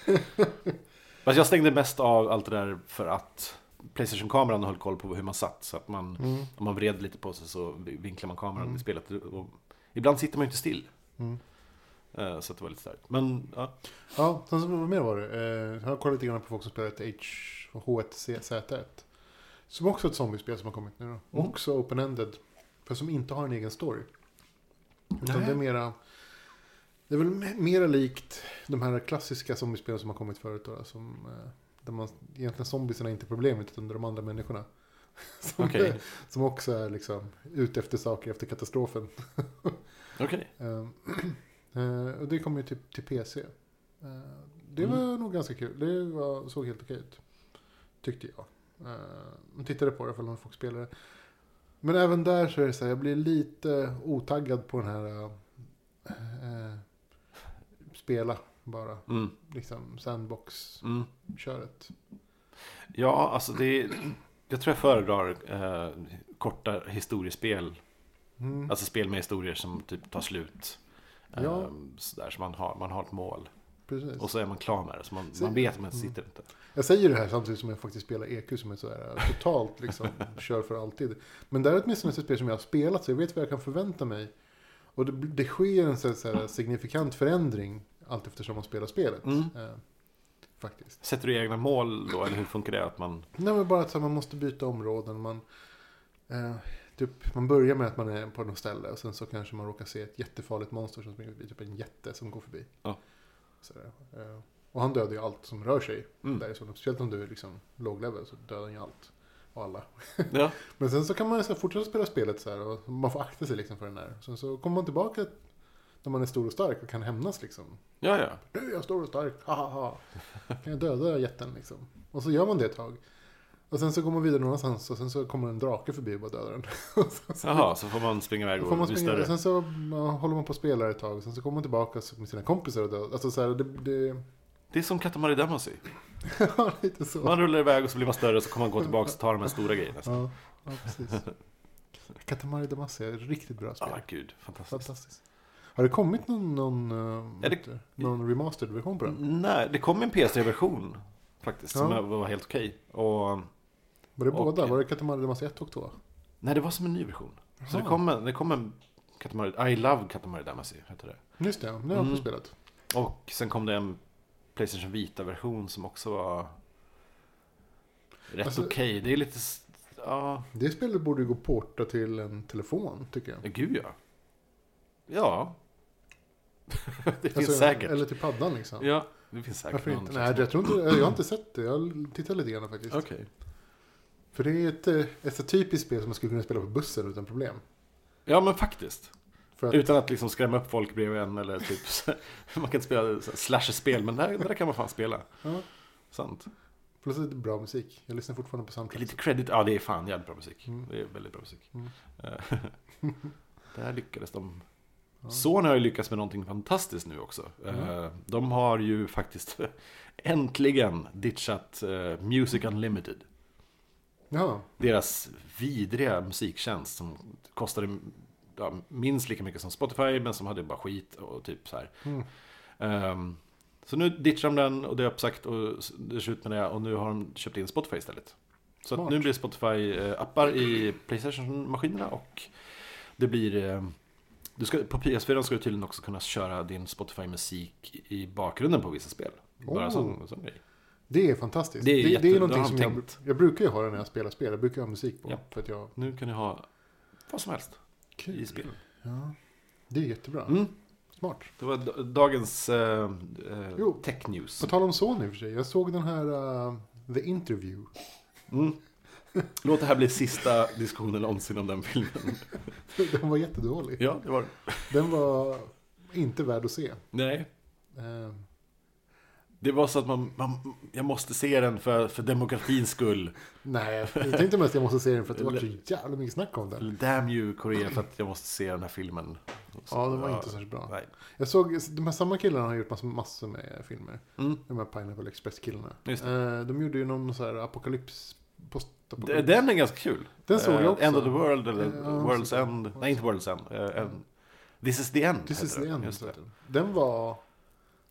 [SPEAKER 1] Fast jag stängde mest av allt det där för att Playstation-kameran höll koll på hur man satt. Så att man...
[SPEAKER 2] Mm.
[SPEAKER 1] Om man vred lite på sig så vinklar man kameran
[SPEAKER 2] Mm.
[SPEAKER 1] i spelet. Och ibland sitter man ju inte still.
[SPEAKER 2] Mm.
[SPEAKER 1] Eh, Så att det var lite starkt. Men ja.
[SPEAKER 2] Ja, sen så vad mer var det? Eh, jag har kollat lite grann på folk som spelat H, H1Z1. Som också är ett zombiespel som har kommit nu då.
[SPEAKER 1] Mm.
[SPEAKER 2] Också open-ended. Fast som inte har en egen story. Utan
[SPEAKER 1] Nej.
[SPEAKER 2] det är mera... Det är väl me- mera likt de här klassiska zombiespelen som har kommit förut då. Som, eh, där man, egentligen zombiesarna är inte problemet utan det är de andra människorna. Som,
[SPEAKER 1] Okej.
[SPEAKER 2] som också är liksom ute efter saker efter katastrofen.
[SPEAKER 1] Okej.
[SPEAKER 2] Eh, eh, och det kom ju till, till PC. Eh, det
[SPEAKER 1] Mm.
[SPEAKER 2] var nog ganska kul. Det var, såg helt okej ut. Tyckte jag. Eh, Jag tittade på det för någon folk spelade. Men även där så är det så här, jag blir lite otaggad på den här eh, eh, spela bara,
[SPEAKER 1] Mm.
[SPEAKER 2] liksom sandbox-köret.
[SPEAKER 1] Mm. Ja, alltså det... Jag tror jag föredrar eh, korta historiespel.
[SPEAKER 2] Mm.
[SPEAKER 1] Alltså spel med historier som typ tar slut. Eh,
[SPEAKER 2] Ja.
[SPEAKER 1] Sådär, så man har, man har ett mål.
[SPEAKER 2] Precis.
[SPEAKER 1] Och så är man klar med det. Så man,
[SPEAKER 2] Så-
[SPEAKER 1] man vet att man
[SPEAKER 2] Mm.
[SPEAKER 1] sitter inte.
[SPEAKER 2] Jag säger det här samtidigt som jag faktiskt spelar EQ som är sådär totalt liksom kör för alltid. Men det här är åtminstone ett spel som jag har spelat så jag vet vad jag kan förvänta mig. Och det, det sker en sån här signifikant förändring allt eftersom man spelar spelet.
[SPEAKER 1] Mm.
[SPEAKER 2] Eh, faktiskt.
[SPEAKER 1] Sätter du egna mål då? Eller hur funkar det? Att man...
[SPEAKER 2] Nej men bara att så här, man måste byta områden. Man, eh, typ, man börjar med att man är på något ställe och sen så kanske man råkar se ett jättefarligt monster som springer förbi. Typ en jätte som går förbi.
[SPEAKER 1] Ja.
[SPEAKER 2] Sådär. Eh, och han dödar ju allt som rör sig
[SPEAKER 1] Mm.
[SPEAKER 2] därifrån. Speciellt om du är liksom låg level så dödar den ju allt. Och alla.
[SPEAKER 1] Ja.
[SPEAKER 2] Men sen så kan man så här fortsätta spela spelet så här och man får akta sig liksom för den där. Sen så kommer man tillbaka när man är stor och stark och kan hämnas liksom.
[SPEAKER 1] ja, ja.
[SPEAKER 2] Nu är jag stor och stark, ha ha ha. Kan jag döda jätten liksom. Och så gör man det ett tag. Och sen så går man vidare någon annanstans och sen så kommer en drake förbi och bara dödar den. Och sen så-
[SPEAKER 1] Jaha, så får man springa iväg
[SPEAKER 2] Alltså- då får
[SPEAKER 1] och
[SPEAKER 2] man
[SPEAKER 1] bli
[SPEAKER 2] springa, och
[SPEAKER 1] större.
[SPEAKER 2] sen så ja, håller man på och spelar ett tag. Och sen så kommer man tillbaka med sina kompisar och dödar. Alltså så här, det... det
[SPEAKER 1] Det är som Katamari Damacy.
[SPEAKER 2] ja, lite så.
[SPEAKER 1] Man rullar iväg och så blir man större och så kommer man gå tillbaka och ta de här stora grejerna.
[SPEAKER 2] Ja, ja precis. Katamari Damacy är ett riktigt bra spel.
[SPEAKER 1] Ja, Ah, gud. Fantastiskt.
[SPEAKER 2] Fantastiskt. Har det kommit någon, någon, eh,
[SPEAKER 1] Ja, det- Mm.
[SPEAKER 2] någon remastered version på den?
[SPEAKER 1] Nej, det kom en PS3-version faktiskt som
[SPEAKER 2] Ja.
[SPEAKER 1] var helt okej. Och
[SPEAKER 2] Var
[SPEAKER 1] Och-
[SPEAKER 2] det
[SPEAKER 1] eh,
[SPEAKER 2] båda? Var det Katamari Damacy 1 och 2?
[SPEAKER 1] nej, det var som en ny version. Så det
[SPEAKER 2] Jaha.
[SPEAKER 1] kom en, det kom en Katamari, I Love Katamari Damacy heter det.
[SPEAKER 2] Just det, nu har jag
[SPEAKER 1] Mm.
[SPEAKER 2] också spelat.
[SPEAKER 1] Och sen kom det en Playstation Vita-version som också var rätt
[SPEAKER 2] Alltså-
[SPEAKER 1] okej. Det är lite, s- ja,
[SPEAKER 2] Det spelet borde ju gå att porta till en telefon, tycker jag.
[SPEAKER 1] ja, gud ja. Ja. det finns
[SPEAKER 2] Alltså,
[SPEAKER 1] säkert.
[SPEAKER 2] Eller till paddan liksom.
[SPEAKER 1] Ja, det finns säkert
[SPEAKER 2] Varför
[SPEAKER 1] någon
[SPEAKER 2] inte?
[SPEAKER 1] slags-
[SPEAKER 2] Nej, jag tror inte, jag har inte sett det. Jag tittar lite grann faktiskt.
[SPEAKER 1] Okej.
[SPEAKER 2] För det är ju ett, eh, ett så typiskt spel som man skulle kunna spela på bussen utan problem.
[SPEAKER 1] Ja, men faktiskt.
[SPEAKER 2] För att,
[SPEAKER 1] Utan att liksom skrämma upp folk bredvid en eller typ så- Man kan inte spela så här slasher-spel, men det här, det där kan man fan spela.
[SPEAKER 2] Ja.
[SPEAKER 1] Sant.
[SPEAKER 2] plus lite bra musik. Jag lyssnar fortfarande på
[SPEAKER 1] Det är
[SPEAKER 2] soundtrack.
[SPEAKER 1] lite credit, ja det är fan jävligt bra musik.
[SPEAKER 2] Mm.
[SPEAKER 1] Det är väldigt bra musik.
[SPEAKER 2] Mm.
[SPEAKER 1] Eh, Där lyckades de.
[SPEAKER 2] Ja. Mm.
[SPEAKER 1] Sony har ju lyckats med någonting fantastiskt nu också. Eh, De har ju faktiskt äntligen ditchat eh, Music Unlimited.
[SPEAKER 2] Ja,
[SPEAKER 1] deras vidriga musiktjänst som kostade ja, minst lika mycket som Spotify men som hade bara skit och typ så här.
[SPEAKER 2] Mm.
[SPEAKER 1] Ehm, så nu ditchar de den och det är uppsagt och s- det är slut med det och nu har de köpt in Spotify istället. Så att
[SPEAKER 2] Smart.
[SPEAKER 1] nu blir Spotify-appar i Playstation-maskinerna och det blir... eh, Du ska, på PS4 ska du tydligen också kunna köra din Spotify-musik i bakgrunden på vissa spel. Bara
[SPEAKER 2] Oh.
[SPEAKER 1] som, som grej.
[SPEAKER 2] det är fantastiskt.
[SPEAKER 1] Det
[SPEAKER 2] Det
[SPEAKER 1] är
[SPEAKER 2] är, det,
[SPEAKER 1] jätte-
[SPEAKER 2] är
[SPEAKER 1] det
[SPEAKER 2] någonting
[SPEAKER 1] har
[SPEAKER 2] som
[SPEAKER 1] de
[SPEAKER 2] jag,
[SPEAKER 1] tänkt.
[SPEAKER 2] jag brukar ju ha det när jag spelar spel. Jag brukar ha musik på.
[SPEAKER 1] Japp.
[SPEAKER 2] För att jag...
[SPEAKER 1] Nu kan du ha vad som helst i
[SPEAKER 2] Kul.
[SPEAKER 1] spelen.
[SPEAKER 2] Ja. Det är jättebra.
[SPEAKER 1] Mm.
[SPEAKER 2] Smart.
[SPEAKER 1] Det var d- dagens eh, eh,
[SPEAKER 2] Jo.
[SPEAKER 1] tech news.
[SPEAKER 2] På tal om Sony i och för sig. Jag såg den här eh, The Interview.
[SPEAKER 1] Mm. Låt det här bli sista diskussionen någonsin om den filmen.
[SPEAKER 2] Den var jättedålig.
[SPEAKER 1] Ja, det var det.
[SPEAKER 2] Den var inte värd att se.
[SPEAKER 1] Nej,
[SPEAKER 2] Eh,
[SPEAKER 1] det var så att man, man jag måste se den för, för demokratins skull.
[SPEAKER 2] nej, jag tänkte mest att jag måste se den för att det var så jävla mycket snack om den.
[SPEAKER 1] Eller Damn you Korea för att jag måste se den här filmen.
[SPEAKER 2] Ja, den var inte särskilt bra.
[SPEAKER 1] Nej.
[SPEAKER 2] Jag såg, de här samma killarna har gjort massor, massor med filmer.
[SPEAKER 1] Mm.
[SPEAKER 2] De här Pineapple Express-killarna.
[SPEAKER 1] Just
[SPEAKER 2] Eh, de gjorde ju någon så här apokalyps...
[SPEAKER 1] D-
[SPEAKER 2] Postapokalyps.
[SPEAKER 1] Den är ganska kul.
[SPEAKER 2] Den såg jag
[SPEAKER 1] Eh,
[SPEAKER 2] också.
[SPEAKER 1] End of the World eller
[SPEAKER 2] Ja,
[SPEAKER 1] World's
[SPEAKER 2] precis.
[SPEAKER 1] End. Nej, inte World's End. Eh, en- This is the end.
[SPEAKER 2] This
[SPEAKER 1] heter
[SPEAKER 2] is the
[SPEAKER 1] den.
[SPEAKER 2] end.
[SPEAKER 1] Just det.
[SPEAKER 2] heter den. Den var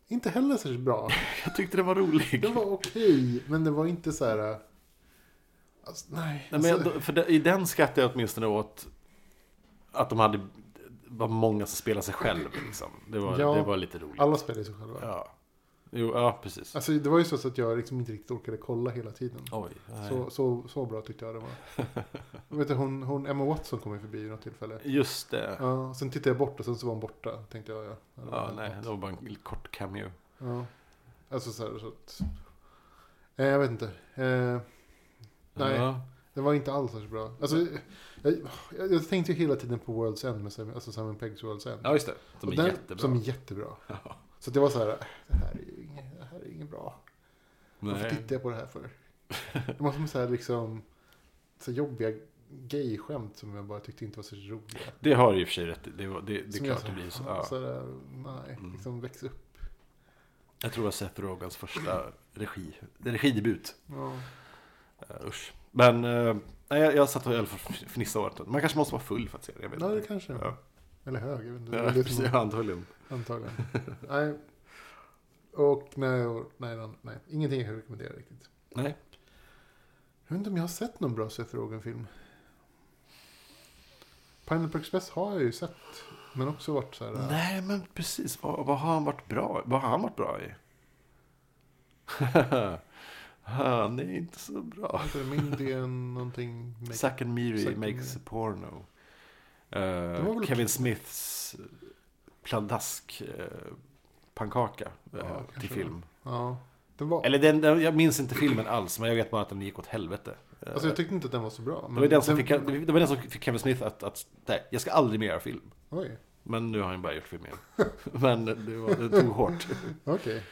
[SPEAKER 2] inte heller särskilt bra.
[SPEAKER 1] Jag tyckte den var rolig.
[SPEAKER 2] Den var okej, men det var inte så här... eh, Alltså, nej.
[SPEAKER 1] Nej, men
[SPEAKER 2] alltså,
[SPEAKER 1] jag- för det- I den skrattade jag åtminstone åt att de hade var många som spelade sig själv. Liksom. Det, var,
[SPEAKER 2] Ja.
[SPEAKER 1] det var lite roligt.
[SPEAKER 2] alla spelar ju sig själva.
[SPEAKER 1] Ja. Jo, ja, precis.
[SPEAKER 2] Alltså det var ju så att jag liksom inte riktigt orkade kolla hela tiden.
[SPEAKER 1] Oj. nej.
[SPEAKER 2] Så, så, så bra tyckte jag det var. Jag vet du, hon, hon, Emma Watson kom ju förbi vid något tillfälle.
[SPEAKER 1] Just det. Ja,
[SPEAKER 2] Ja, sen tittade jag bort och sen så var hon borta. Tänkte jag, ja. det var helt
[SPEAKER 1] nej,
[SPEAKER 2] något.
[SPEAKER 1] det var bara en kort cameo.
[SPEAKER 2] Ja. Alltså så här så att... Eh, jag vet inte. Eh, Nej.
[SPEAKER 1] Ja.
[SPEAKER 2] det var inte alls så bra. Alltså, jag, jag, jag tänkte ju hela tiden på World's End, med, Sam- alltså Simon Peggs World's End.
[SPEAKER 1] ja, just det. Som
[SPEAKER 2] Och
[SPEAKER 1] är
[SPEAKER 2] den-
[SPEAKER 1] jättebra.
[SPEAKER 2] Som är jättebra.
[SPEAKER 1] Ja.
[SPEAKER 2] Så det var så här, eh, det här är ju inget, det här är inget bra. Varför
[SPEAKER 1] Nej.
[SPEAKER 2] tittar jag på det här för? Det var som så här liksom så här jobbiga gay-skämt som jag bara tyckte inte var så roliga.
[SPEAKER 1] Det har du i och för sig rätt i. Det, var- det, det är
[SPEAKER 2] Som jag
[SPEAKER 1] klart det blir så.
[SPEAKER 2] här,
[SPEAKER 1] Ja.
[SPEAKER 2] där, nej,
[SPEAKER 1] Mm.
[SPEAKER 2] liksom väx upp.
[SPEAKER 1] Jag tror det var Seth Rogans första regi, regidebut.
[SPEAKER 2] Ja.
[SPEAKER 1] Uh, usch. Men eh, nej, jag, jag satt och i alla fall fnissade åt den. Man kanske måste vara full för att se det. Jag vet
[SPEAKER 2] Nej, det
[SPEAKER 1] inte.
[SPEAKER 2] kanske det var.
[SPEAKER 1] Ja.
[SPEAKER 2] Eller hög, jag vet inte.
[SPEAKER 1] Ja,
[SPEAKER 2] Det var det som
[SPEAKER 1] precis, antagligen.
[SPEAKER 2] antagligen. nej. Och nej, och nej, nej, nej, ingenting jag kan rekommendera riktigt.
[SPEAKER 1] Nej.
[SPEAKER 2] Jag vet inte om jag har sett någon bra Seth Rogen-film. Pineapple Express har jag ju sett, men också varit så här... äh,
[SPEAKER 1] Nej, men precis. Vad, vad har han varit bra Vad har han varit bra i? han är inte så bra.
[SPEAKER 2] Heter det Mindian någonting?
[SPEAKER 1] Zack and Miri
[SPEAKER 2] Zack and
[SPEAKER 1] makes
[SPEAKER 2] Miri.
[SPEAKER 1] a porno. Eh,
[SPEAKER 2] var väl-
[SPEAKER 1] Kevin Smiths eh, pladask eh, pankaka eh,
[SPEAKER 2] Ja,
[SPEAKER 1] till
[SPEAKER 2] kanske
[SPEAKER 1] film.
[SPEAKER 2] Ja, den var...
[SPEAKER 1] Eller den, den, jag minns inte filmen alls, men jag vet bara att den gick åt helvete. Eh,
[SPEAKER 2] Alltså jag tyckte inte att den var så bra.
[SPEAKER 1] det, var den som fick, det var den som fick Kevin Smith att, att nej, jag ska aldrig mer göra film.
[SPEAKER 2] Oj,
[SPEAKER 1] Men nu har han bara gjort film igen. Men det, var, det tog hårt.
[SPEAKER 2] okej.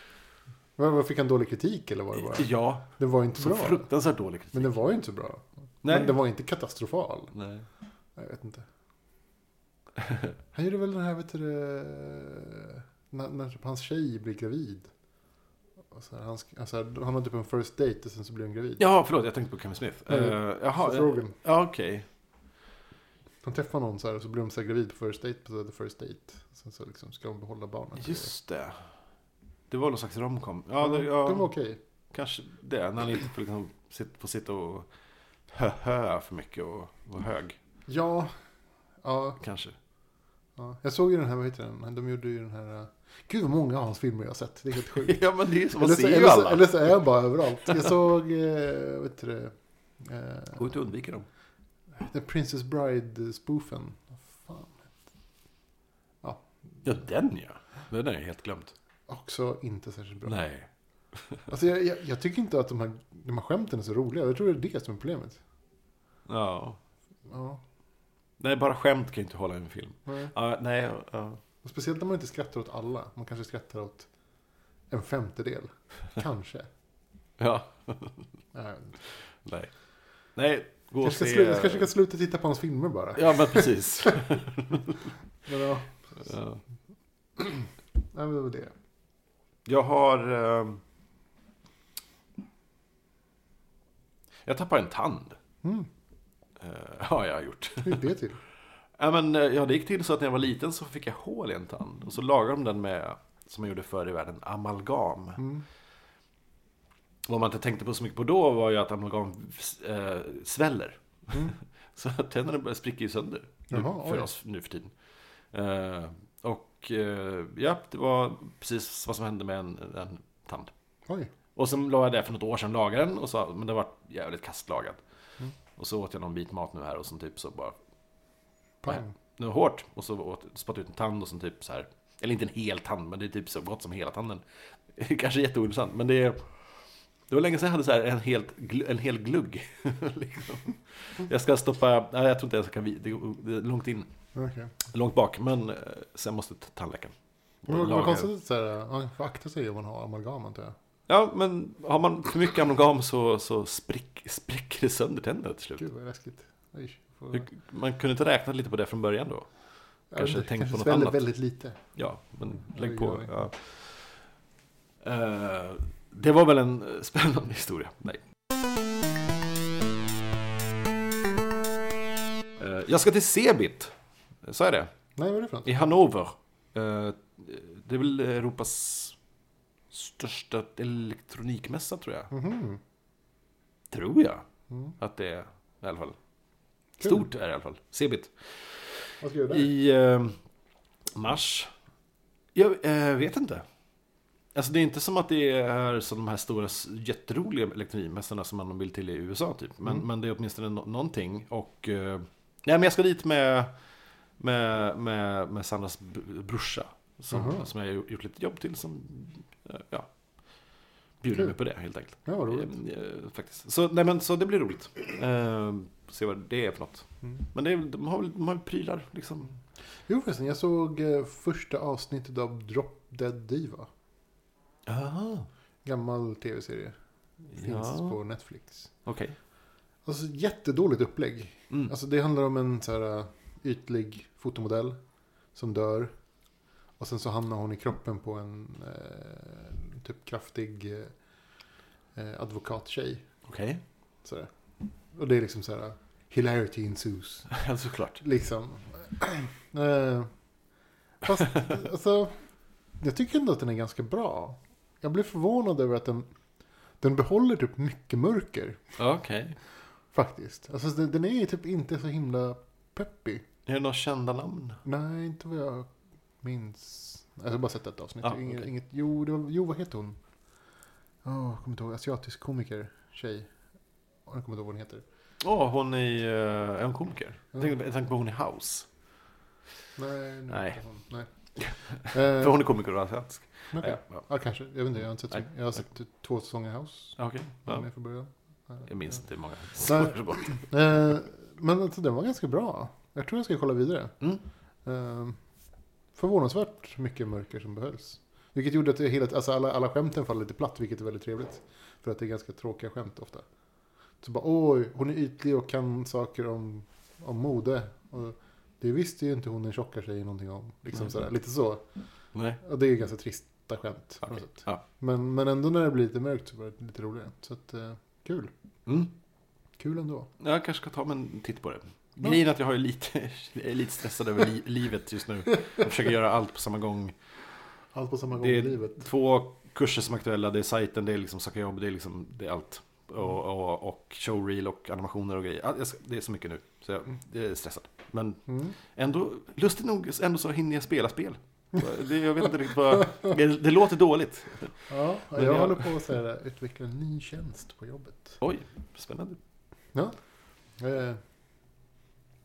[SPEAKER 2] Vad vad Fick han dålig kritik eller var det bara?
[SPEAKER 1] Ja,
[SPEAKER 2] Den var inte
[SPEAKER 1] så
[SPEAKER 2] bra.
[SPEAKER 1] fruktansvärt dålig kritik.
[SPEAKER 2] Men den var ju inte så bra.
[SPEAKER 1] Nej.
[SPEAKER 2] Men den var inte katastrofal.
[SPEAKER 1] Nej.
[SPEAKER 2] Jag vet inte. Han gjorde väl den här, vet du det, när, när typ hans tjej blir gravid. Och så här, han, sk- alltså, han har typ en first date och sen så blir hon gravid.
[SPEAKER 1] Jaha, förlåt, jag tänkte på Kevin Smith.
[SPEAKER 2] Nej,
[SPEAKER 1] Eh,
[SPEAKER 2] Seth
[SPEAKER 1] jaha, eh,
[SPEAKER 2] Rogen.
[SPEAKER 1] ja, okej.
[SPEAKER 2] Han träffar någon så här och så blir de så här gravid på first date på så här, the first date. Sen så liksom ska de behålla barnet.
[SPEAKER 1] Just det. Det var någon slags romcom. Ja, det,
[SPEAKER 2] Den var
[SPEAKER 1] ja
[SPEAKER 2] okej.
[SPEAKER 1] kanske det. När han inte får, liksom, sit- får sitta och hö-hö för mycket och vara hög,
[SPEAKER 2] Ja. Ja,
[SPEAKER 1] kanske.
[SPEAKER 2] ja. Jag såg ju den här, vad heter den? De gjorde ju den här... eh, Gud vad många av hans filmer jag har sett. Det är helt sjukt.
[SPEAKER 1] Ja, men det är ju så. Man
[SPEAKER 2] eller, så,
[SPEAKER 1] ser ju
[SPEAKER 2] eller, så,
[SPEAKER 1] alla.
[SPEAKER 2] eller så är jag bara överallt. Jag såg, eh, vet du det?
[SPEAKER 1] Det
[SPEAKER 2] Eh,
[SPEAKER 1] Går inte att undvika dem.
[SPEAKER 2] The Princess Bride-spoofen. Vad Fan.
[SPEAKER 1] Ja, den ja. Den har jag helt glömt.
[SPEAKER 2] Också inte särskilt bra.
[SPEAKER 1] Nej.
[SPEAKER 2] Alltså jag, jag, jag tycker inte att de här, de här skämten är så roliga. Jag tror det är det som är problemet.
[SPEAKER 1] Ja.
[SPEAKER 2] Ja,
[SPEAKER 1] Nej, bara skämt kan ju inte hålla en film.
[SPEAKER 2] nej.
[SPEAKER 1] Ja, nej, ja.
[SPEAKER 2] Och speciellt när man inte skrattar åt alla. Man kanske skrattar åt en femtedel. Kanske.
[SPEAKER 1] ja.
[SPEAKER 2] Nej.
[SPEAKER 1] Nej. Nej, gå
[SPEAKER 2] Jag
[SPEAKER 1] och
[SPEAKER 2] ska
[SPEAKER 1] se... eh,
[SPEAKER 2] slu- jag kanske ska sluta titta på hans filmer bara.
[SPEAKER 1] Ja, men precis.
[SPEAKER 2] Men ja,
[SPEAKER 1] ja.
[SPEAKER 2] nej, men det var det.
[SPEAKER 1] Jag har... ehm, Jag tappar en tand.
[SPEAKER 2] Mm,
[SPEAKER 1] Eh, har jag gjort.
[SPEAKER 2] hur gick det till?
[SPEAKER 1] Ja, men, eh, ja, det gick till så att när jag var liten så fick jag hål i en tand. Och så lagade de den med, som man gjorde förr i världen, amalgam.
[SPEAKER 2] Mm.
[SPEAKER 1] Vad man inte tänkte på så mycket på då var ju att amalgam eh, sväller.
[SPEAKER 2] Mm.
[SPEAKER 1] Så att tänderna börjar- spricker ju sönder. nu-
[SPEAKER 2] Jaha,
[SPEAKER 1] för
[SPEAKER 2] oj.
[SPEAKER 1] oss nu för tiden. Eh, och eh, ja, det var precis vad som hände med en, en tand.
[SPEAKER 2] Oj.
[SPEAKER 1] Och sen la jag det för något år sedan, lagade den och sa, men det var jävligt kastlagad.
[SPEAKER 2] Mm.
[SPEAKER 1] Och så åt jag någon bit mat nu här och sen typ så bara,
[SPEAKER 2] Pang.
[SPEAKER 1] det var hårt. Och så åt, spat ut en tand och sen typ så här, eller inte en hel tand, men det är typ så gott som hela tanden. Kanske jätteointressant, men det är, det var länge sedan jag hade så här en, helt, gl- en hel glugg. liksom. Jag ska stoppa, nej jag tror inte jag kan, vi- det går- det är långt in.
[SPEAKER 2] Okej.
[SPEAKER 1] Långt bak, men eh, sen måste till tandläkaren.
[SPEAKER 2] Men Mm, vad-
[SPEAKER 1] Lagar.
[SPEAKER 2] Vad konstigt att så här, ja, får akta sig om man har amalgam antar jag.
[SPEAKER 1] Ja, men har man för mycket amalgam så, så sprick, spricker det sönder tänderna till slut.
[SPEAKER 2] Gud vad läskigt. Oj, får-
[SPEAKER 1] Hur- Man kunde inte räkna lite på det från början då.
[SPEAKER 2] Jag
[SPEAKER 1] kanske
[SPEAKER 2] vet inte,
[SPEAKER 1] tänkt på något
[SPEAKER 2] sväller
[SPEAKER 1] annat.
[SPEAKER 2] väldigt lite.
[SPEAKER 1] Ja, men lägg
[SPEAKER 2] Oj,
[SPEAKER 1] på.
[SPEAKER 2] oj.
[SPEAKER 1] Ja. Eh, det var väl en eh, spännande historia. Nej. Eh, jag ska till Cebit. Sa jag det?
[SPEAKER 2] Nej, vad är det för något?
[SPEAKER 1] I Hannover. Eh, det är väl Europas största elektronikmässa tror jag.
[SPEAKER 2] Mhm.
[SPEAKER 1] Tror jag
[SPEAKER 2] Mm.
[SPEAKER 1] att det är i alla fall.
[SPEAKER 2] Kul.
[SPEAKER 1] Stort är det i alla fall. Cebit.
[SPEAKER 2] Vad ska du göra där?
[SPEAKER 1] I eh, mars. Jag eh, vet inte. Alltså det är inte som att det är som de här stora s- jätteroliga elektronikmässorna som man vill till i USA typ. Men,
[SPEAKER 2] Mm.
[SPEAKER 1] men det är åtminstone no- någonting. Och, eh, nej men jag ska dit med, med, med, med Sandras b- brorsa. Som,
[SPEAKER 2] Jaha.
[SPEAKER 1] som jag har gjort lite jobb till. Som eh, ja, bjuder
[SPEAKER 2] Kul.
[SPEAKER 1] mig på det helt enkelt.
[SPEAKER 2] Ja, vad roligt.
[SPEAKER 1] Eh, faktiskt. Så, nej, men, så det blir roligt. Eh, se vad det är för något.
[SPEAKER 2] Mm.
[SPEAKER 1] Men det är, de har väl de har väl prylar liksom.
[SPEAKER 2] Jo förresten, jag såg eh, första avsnittet av Drop Dead Diva.
[SPEAKER 1] Aha.
[SPEAKER 2] Gammal tv-serie. Finns
[SPEAKER 1] Ja,
[SPEAKER 2] på Netflix.
[SPEAKER 1] okej.
[SPEAKER 2] Alltså jättedåligt upplägg.
[SPEAKER 1] Mm.
[SPEAKER 2] Alltså det handlar om en så här eh, ytlig fotomodell som dör. Och sen så hamnar hon i kroppen på en eh, typ kraftig eh, eh, advokattjej.
[SPEAKER 1] Okej.
[SPEAKER 2] Så där. Och det är liksom så här, hilarity ensues.
[SPEAKER 1] Ja, såklart.
[SPEAKER 2] Liksom. Eh, Fast, alltså, jag tycker ändå att den är ganska bra. Jag blev förvånad över att den, den behåller typ mycket mörker,
[SPEAKER 1] Okej.
[SPEAKER 2] faktiskt. Alltså, den, den är typ inte så himla peppig.
[SPEAKER 1] Är det några kända namn?
[SPEAKER 2] Nej, inte vad jag minns. Alltså, jag har bara sett ett avsnitt.
[SPEAKER 1] Ah,
[SPEAKER 2] inget,
[SPEAKER 1] okej.
[SPEAKER 2] inget, jo, det var, jo, vad heter hon? Oh, jag kommer inte ihåg. Asiatisk komiker, tjej. Jag kommer inte ihåg vad hon heter.
[SPEAKER 1] Åh, hon är uh, en komiker. Jag tänkte, jag tänkte på hon i House.
[SPEAKER 2] Nej, nu
[SPEAKER 1] Nej.
[SPEAKER 2] heter hon. Nej.
[SPEAKER 1] För hon är komiker och asiatisk.
[SPEAKER 2] Eh, okej.
[SPEAKER 1] Ja, ja.
[SPEAKER 2] Ja, kanske. Jag vet inte, jag har inte sett så
[SPEAKER 1] Nej.
[SPEAKER 2] mycket. Jag har sett två säsonger i House.
[SPEAKER 1] Ja, Okej.
[SPEAKER 2] Ja.
[SPEAKER 1] Ja.
[SPEAKER 2] Med från början. Ja.
[SPEAKER 1] Jag minns inte hur många.
[SPEAKER 2] Eh, Men alltså, den var ganska bra. Jag tror jag ska kolla vidare.
[SPEAKER 1] Mm.
[SPEAKER 2] Eh, Förvånansvärt mycket mörker som behölls. Vilket gjorde att det hela, alltså alla, alla skämten faller lite platt, vilket är väldigt trevligt. För att det är ganska tråkiga skämt ofta. Så bara, oj, hon är ytlig och kan saker om, om mode. Och det visste ju inte hon den tjocka tjejen någonting om. Liksom
[SPEAKER 1] Nej.
[SPEAKER 2] sådär, lite så.
[SPEAKER 1] Nej.
[SPEAKER 2] Och det är ganska trista skämt. på något
[SPEAKER 1] Okej.
[SPEAKER 2] sätt.
[SPEAKER 1] Ja.
[SPEAKER 2] Men, men ändå när det blir lite mörkt så var det lite roligare. Så att, eh, kul.
[SPEAKER 1] Mm.
[SPEAKER 2] Kul ändå.
[SPEAKER 1] Jag kanske ska ta mig en titt på det.
[SPEAKER 2] Ja.
[SPEAKER 1] Grejen är att jag har ju lite, jag är lite stressad över li, livet just nu. Jag försöker göra allt på samma gång.
[SPEAKER 2] Allt på samma gång
[SPEAKER 1] Det
[SPEAKER 2] i
[SPEAKER 1] är
[SPEAKER 2] livet.
[SPEAKER 1] två kurser som är aktuella. Det är sajten, det är liksom söka jobb, det är liksom det är allt. Och, och, och showreel och animationer och grejer. Ja, jag ska- Det är så mycket nu. Så jag jag är stressad. Men
[SPEAKER 2] Mm.
[SPEAKER 1] ändå, lustigt nog, ändå så hinner jag spela spel. Det, jag vet inte riktigt vad... Det, det låter dåligt.
[SPEAKER 2] Ja,
[SPEAKER 1] Men
[SPEAKER 2] jag,
[SPEAKER 1] jag-
[SPEAKER 2] håller på att så här, utveckla en ny tjänst på jobbet.
[SPEAKER 1] Oj, spännande.
[SPEAKER 2] Ja. Eh,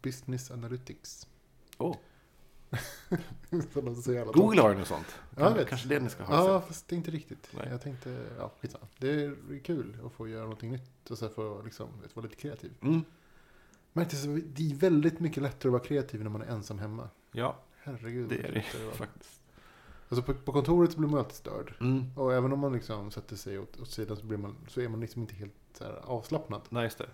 [SPEAKER 2] business analytics.
[SPEAKER 1] Åh,
[SPEAKER 2] Som de säger alla
[SPEAKER 1] Google har ju något sånt.
[SPEAKER 2] Ja, jag vet.
[SPEAKER 1] Kanske det ni ska ha.
[SPEAKER 2] Ja,
[SPEAKER 1] sen.
[SPEAKER 2] fast det är inte riktigt.
[SPEAKER 1] Nej.
[SPEAKER 2] Jag tänkte, ja, skitsamma. Det är kul att få göra någonting nytt och så här få liksom, vet, vara lite kreativ.
[SPEAKER 1] Mm.
[SPEAKER 2] Märkte så, det är väldigt mycket lättare att vara kreativ när man är ensam hemma.
[SPEAKER 1] Ja,
[SPEAKER 2] Herregud.
[SPEAKER 1] det
[SPEAKER 2] vad
[SPEAKER 1] är
[SPEAKER 2] trött jag
[SPEAKER 1] det
[SPEAKER 2] var.
[SPEAKER 1] faktiskt.
[SPEAKER 2] Alltså på, på kontoret så blir man alltid störd.
[SPEAKER 1] Mm.
[SPEAKER 2] Och även om man liksom sätter sig åt, åt sidan så, blir man, så är man liksom inte helt så här avslappnad.
[SPEAKER 1] Nej, just det.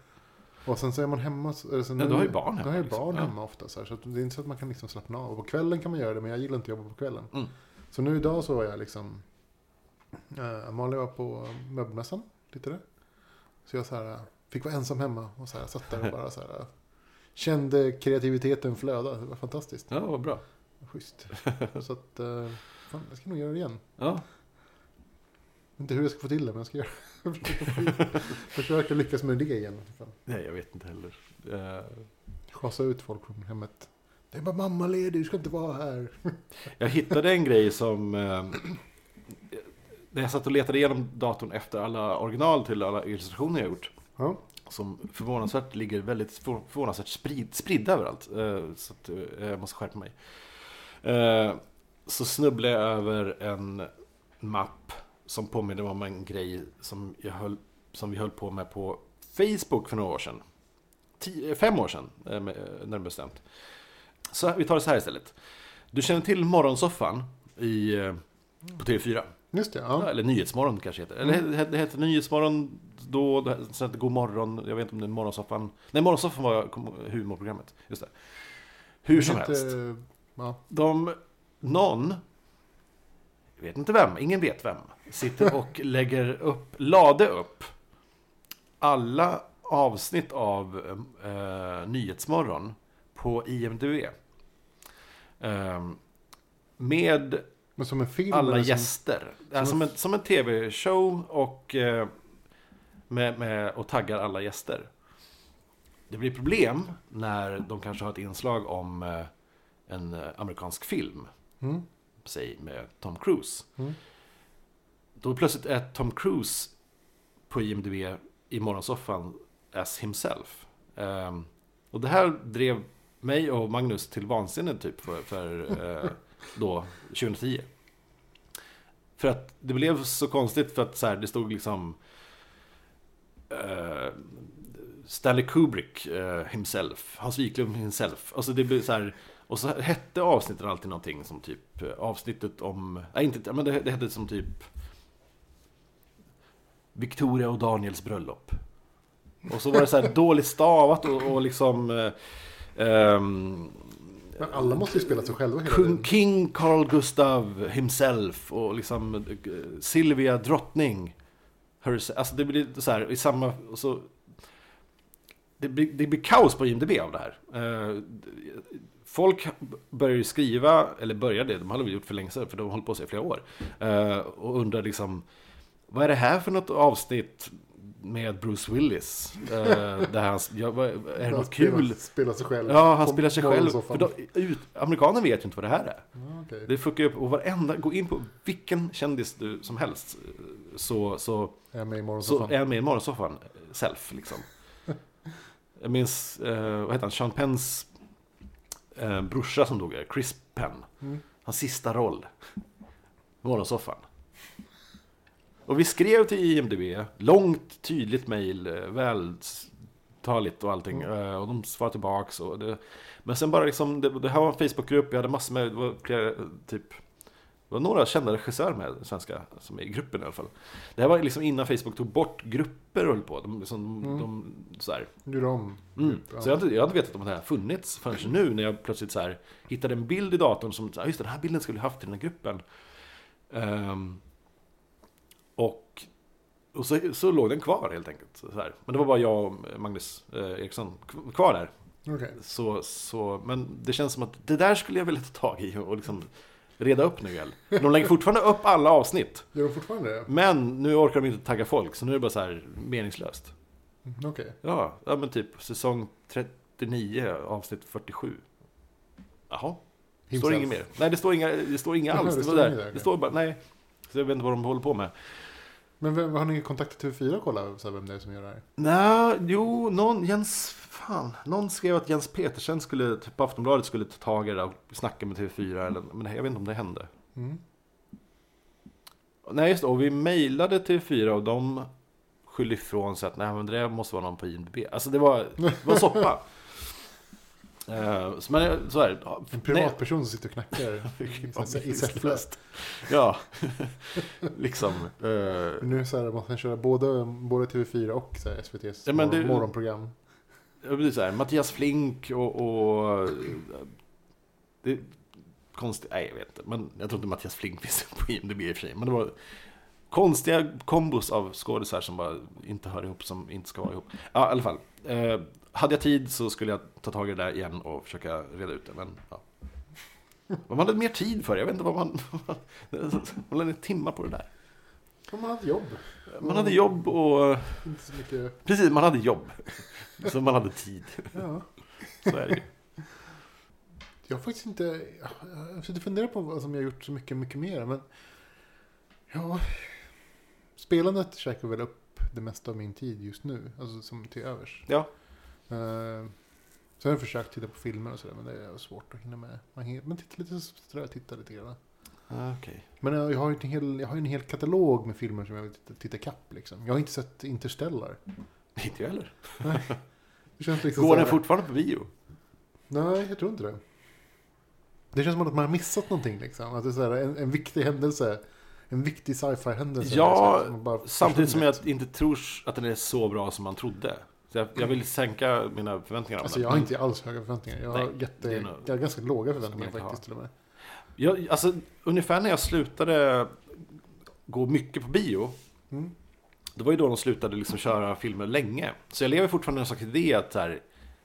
[SPEAKER 2] Och sen så är man hemma. Så, eller sen
[SPEAKER 1] Ja,
[SPEAKER 2] är
[SPEAKER 1] du har
[SPEAKER 2] det-
[SPEAKER 1] ju barn
[SPEAKER 2] Då
[SPEAKER 1] hemma.
[SPEAKER 2] har jag
[SPEAKER 1] liksom.
[SPEAKER 2] barn
[SPEAKER 1] Ja.
[SPEAKER 2] hemma ofta. Så, här, så att det är inte så att man kan liksom slappna av. Och på kvällen kan man göra det, men jag gillar inte att jobba på kvällen.
[SPEAKER 1] Mm.
[SPEAKER 2] Så nu idag så var jag liksom... Eh, Malin var på möbelmässan, lite det. Så jag så här, eh, fick vara ensam hemma och så här, satt där och bara så här... eh, Kände kreativiteten flöda. Det var fantastiskt.
[SPEAKER 1] Ja, vad bra.
[SPEAKER 2] Schysst. Så att... eh, Fan, jag ska nog göra det igen.
[SPEAKER 1] Ja,
[SPEAKER 2] Jag vet Inte hur jag ska få till det, men jag ska göra försöka- Försöka lyckas med det igen. Fan.
[SPEAKER 1] nej, jag vet inte heller. Eh,
[SPEAKER 2] Schasa ut folk från hemmet. Det är bara mamma ledig, du ska inte vara här.
[SPEAKER 1] Jag hittade en grej som... Eh, när jag satt och letade igenom datorn efter alla original till alla illustrationer jag gjort.
[SPEAKER 2] Ja.
[SPEAKER 1] Som förvånansvärt ligger väldigt för- förvånansvärt sprid, spridda överallt. Eh, så att, eh, jag måste skärpa mig. Eh, så snubblade jag över en mapp som påminner om en grej som, jag höll, som vi höll på med på Facebook för några år sedan. Ti- eh, fem år sedan, eh, med- eh, närmare bestämt. Så här- vi tar det så här istället. Du känner till Morgonsoffan i, eh, på TV4?
[SPEAKER 2] Just det,
[SPEAKER 1] Ja,
[SPEAKER 2] ja.
[SPEAKER 1] Eller Nyhetsmorgon kanske heter. Eller
[SPEAKER 2] Mm.
[SPEAKER 1] he- det hette Nyhetsmorgon då, det hette- sen hette God morgon, jag vet inte om det är Morgonsoffan. Nej, Morgonsoffan var kom- humorprogrammet. Just det. Hur som
[SPEAKER 2] Inte-
[SPEAKER 1] helst.
[SPEAKER 2] Ja.
[SPEAKER 1] De, någon, jag vet inte vem, ingen vet vem, sitter och lägger upp, lade upp alla avsnitt av eh, Nyhetsmorgon på IMDB. Ehm, med
[SPEAKER 2] Men som en film.
[SPEAKER 1] alla
[SPEAKER 2] eller
[SPEAKER 1] gäster. Som,
[SPEAKER 2] som
[SPEAKER 1] som,
[SPEAKER 2] en-
[SPEAKER 1] en, som en tv-show och, eh, med, med, och taggar alla gäster. Det blir problem när de kanske har ett inslag om eh, en eh, amerikansk film,
[SPEAKER 2] Som... Mm.
[SPEAKER 1] säg med Tom Cruise.
[SPEAKER 2] Mm.
[SPEAKER 1] Då plötsligt är Tom Cruise på IMDB i morgonsoffan as himself. Ehm, och det här drev mig och Magnus till vansinne typ för, för eh, då 2010. För att det blev så konstigt för att så här, det stod liksom eh, Stanley Kubrick eh, himself, Hans Wiklund himself. Alltså det blev så här, och så hette avsnitten alltid någonting som typ eh, avsnittet om, nej inte, men det, det hette som typ Victoria och Daniels bröllop. Och så var det så här dåligt stavat och, och liksom eh, ehm,
[SPEAKER 2] Men alla måste ju spela sig själva hela
[SPEAKER 1] Kung,
[SPEAKER 2] tiden.
[SPEAKER 1] King Carl Gustav himself och liksom eh, Silvia drottning. Hers, alltså det blir så här i samma... och Så, det, blir, det blir kaos på IMDB av det här. Eh, Folk börjar ju skriva, eller började, de hade väl gjort för länge sedan för de har hållit på sig i flera år. Eh, Och undrar liksom, vad är det här för något avsnitt med Bruce Willis? Eh, Där han, ja, vad- är det
[SPEAKER 2] Han
[SPEAKER 1] något
[SPEAKER 2] spelar-
[SPEAKER 1] kul?
[SPEAKER 2] Spelar sig själv.
[SPEAKER 1] Ja, han
[SPEAKER 2] På
[SPEAKER 1] spelar sig själv. För
[SPEAKER 2] morgonsoffan.
[SPEAKER 1] de, ut, amerikaner vet ju inte vad det här är.
[SPEAKER 2] Ja, okej.
[SPEAKER 1] Det fuckar ju upp, och varenda, gå in på vilken kändis du som helst eh, så, så,
[SPEAKER 2] Är jag med i
[SPEAKER 1] så
[SPEAKER 2] morgonsoffan.
[SPEAKER 1] är han med i morgonsoffan, eh, self liksom. Jag minns, eh, vad heter han, Sean Penns eh, brorsa som dog, eh, Chris Penn.
[SPEAKER 2] Mm.
[SPEAKER 1] Hans sista roll, morgonsoffan. Och vi skrev till IMDB, långt, tydligt mejl, eh, vältaligt och allting.
[SPEAKER 2] Mm.
[SPEAKER 1] eh, Och de svarade tillbaks. Och det, men sen bara liksom, det, det här var en Facebookgrupp, jag hade massor med, det var flera, eh, typ, det var några kända regissörer med, svenska, som är i gruppen i alla fall. Det här var liksom innan Facebook tog bort grupper och höll på. De, liksom,
[SPEAKER 2] Mm.
[SPEAKER 1] de, så här.
[SPEAKER 2] Nu är de.
[SPEAKER 1] Mm.
[SPEAKER 2] Ja.
[SPEAKER 1] Så jag hade, jag hade vetat om det här funnits förrän nu när jag plötsligt så här, hittade en bild i datorn som, så här, "Ah, just det, den här bilden skulle jag haft i den här gruppen. Ehm, och och så, så låg den kvar helt enkelt. Så här. Men det var bara jag och Magnus eh, Eriksson k- kvar där.
[SPEAKER 2] Okej.
[SPEAKER 1] Så, så, men det känns som att det där skulle jag vilja ta tag i och liksom reda upp nu igen. De lägger fortfarande upp alla avsnitt.
[SPEAKER 2] Gör de fortfarande det?
[SPEAKER 1] Men nu orkar de inte tagga folk, så nu är det bara så här meningslöst.
[SPEAKER 2] Mm, Okej.
[SPEAKER 1] Ja, ja men typ säsong 39, avsnitt 47. Jaha, det står
[SPEAKER 2] Himself.
[SPEAKER 1] inget mer. Nej, det står inga, det står inga
[SPEAKER 2] Jaha,
[SPEAKER 1] alls.
[SPEAKER 2] det
[SPEAKER 1] Det,
[SPEAKER 2] står
[SPEAKER 1] var där.
[SPEAKER 2] inget där, okej.
[SPEAKER 1] det står bara, nej. Så jag vet inte vad de håller på med.
[SPEAKER 2] Men vem, har ni kontaktat TV4 och kollat så här, vem det är som gör det här?
[SPEAKER 1] Nej, jo, någon, Jens, fan, någon skrev att Jens Petersen skulle, typ på Aftonbladet skulle ta tag i det där och snacka med TV4, eller, men jag vet inte om det hände.
[SPEAKER 2] Mm.
[SPEAKER 1] Nej, just det, och vi mejlade TV4 och de skyllde ifrån sig att nej, men det där måste vara någon på IMDB. Alltså det var, det var soppa. Eh, så, men, så här, ja,
[SPEAKER 2] En
[SPEAKER 1] nej,
[SPEAKER 2] privatperson som sitter och knackar i- i Säffle.
[SPEAKER 1] Ja, liksom. eh,
[SPEAKER 2] Nu så här, måste han köra både, både TV4 och så här, SVTs
[SPEAKER 1] Ja, men
[SPEAKER 2] morgon,
[SPEAKER 1] det-
[SPEAKER 2] morgonprogram.
[SPEAKER 1] jag blir så här, Mattias Flink och... och eh, det är konstigt, nej jag vet inte. Men jag tror inte Mattias Flink finns på IMDB i och för sig. Men det var konstiga kombos av skådisar som bara inte hör ihop, som inte ska vara ihop. Ja, i alla fall. Eh, hade jag tid så skulle jag ta tag i det där igen och försöka reda ut det. Men, ja. Vad man hade mer tid för, jag vet inte vad man... Man lade ner timmar på det där.
[SPEAKER 2] Om man har ett jobb.
[SPEAKER 1] Man hade jobb och...
[SPEAKER 2] Inte så mycket.
[SPEAKER 1] Precis, man hade jobb. Så man hade tid.
[SPEAKER 2] Ja.
[SPEAKER 1] Så är det ju.
[SPEAKER 2] Jag har faktiskt inte... Jag försökte fundera på vad som jag har gjort så mycket, mycket mer. Men... Ja... Spelandet käkar väl upp det mesta av min tid just nu. Alltså som till övers.
[SPEAKER 1] Ja.
[SPEAKER 2] Eh, så har jag försökt titta på filmer och sådär. Men det är svårt att hinna med. Man hinner, men titta lite sådär, titta lite grann.
[SPEAKER 1] Okej.
[SPEAKER 2] Men jag jag har ju en hel, jag har ju en hel katalog med filmer som jag vill titta, titta kapp liksom. Jag har inte sett Interstellar.
[SPEAKER 1] Inte jag heller.
[SPEAKER 2] Det känns liksom
[SPEAKER 1] Går den
[SPEAKER 2] såhär-
[SPEAKER 1] fortfarande på bio?
[SPEAKER 2] Nej, jag tror inte det. Det känns som att man har missat någonting liksom. Att det är så här, en, en viktig händelse. En viktig sci-fi händelse.
[SPEAKER 1] Ja,
[SPEAKER 2] liksom, som bara
[SPEAKER 1] Samtidigt som
[SPEAKER 2] försvunnit.
[SPEAKER 1] jag inte tror att den är så bra som man trodde. Så jag, jag vill sänka mina förväntningar. om
[SPEAKER 2] Alltså
[SPEAKER 1] den.
[SPEAKER 2] jag har inte alls höga förväntningar. Jag har,
[SPEAKER 1] Nej,
[SPEAKER 2] jätte,
[SPEAKER 1] det är nog-
[SPEAKER 2] jag har ganska låga
[SPEAKER 1] Ska man
[SPEAKER 2] förväntningar
[SPEAKER 1] inte
[SPEAKER 2] faktiskt till och med.
[SPEAKER 1] Jag, alltså, ungefär när jag slutade gå mycket på bio.
[SPEAKER 2] Mm.
[SPEAKER 1] Det var ju då de slutade liksom köra filmer länge. Så jag lever fortfarande i någon slags idé att så här,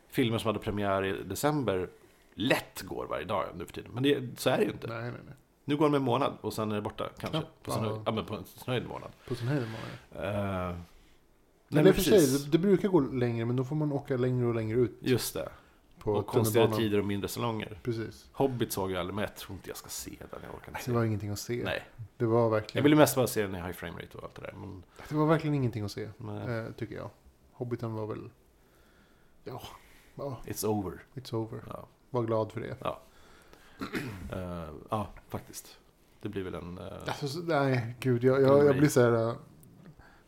[SPEAKER 1] filmer som hade premiär i december lätt går varje dag nu för tiden. Men det, så är det ju inte.
[SPEAKER 2] Nej, nej, nej.
[SPEAKER 1] Nu går de en månad och sen är det borta kanske.
[SPEAKER 2] Knappt,
[SPEAKER 1] på, sin,
[SPEAKER 2] ja.
[SPEAKER 1] höjd- ja, men på en snöjd månad.
[SPEAKER 2] På sin höjd många.
[SPEAKER 1] Eh, nej,
[SPEAKER 2] Men i och för sig, det, det brukar gå längre men då får man åka längre och längre ut
[SPEAKER 1] Just det.
[SPEAKER 2] på
[SPEAKER 1] och konstiga
[SPEAKER 2] tunnelbanan.
[SPEAKER 1] tider och mindre salonger.
[SPEAKER 2] Precis.
[SPEAKER 1] Hobbit såg jag aldrig, men jag tror inte jag ska se den. Jag orkar inte se
[SPEAKER 2] Det var ingenting att se.
[SPEAKER 1] den. Nej,
[SPEAKER 2] Det var
[SPEAKER 1] jag
[SPEAKER 2] verkligen,
[SPEAKER 1] ville mest bara se den i high frame rate och allt det där. Men,
[SPEAKER 2] det var verkligen ingenting att se.
[SPEAKER 1] men
[SPEAKER 2] Eh, tycker jag. Hobbiten var väl... Ja, ja,
[SPEAKER 1] it's over.
[SPEAKER 2] it's over.
[SPEAKER 1] Ja,
[SPEAKER 2] Var glad för det.
[SPEAKER 1] Eh, ja, faktiskt. Det blir väl en... eh,
[SPEAKER 2] Alltså, så- nej, gud. Jag, jag, jag blir så här... eh,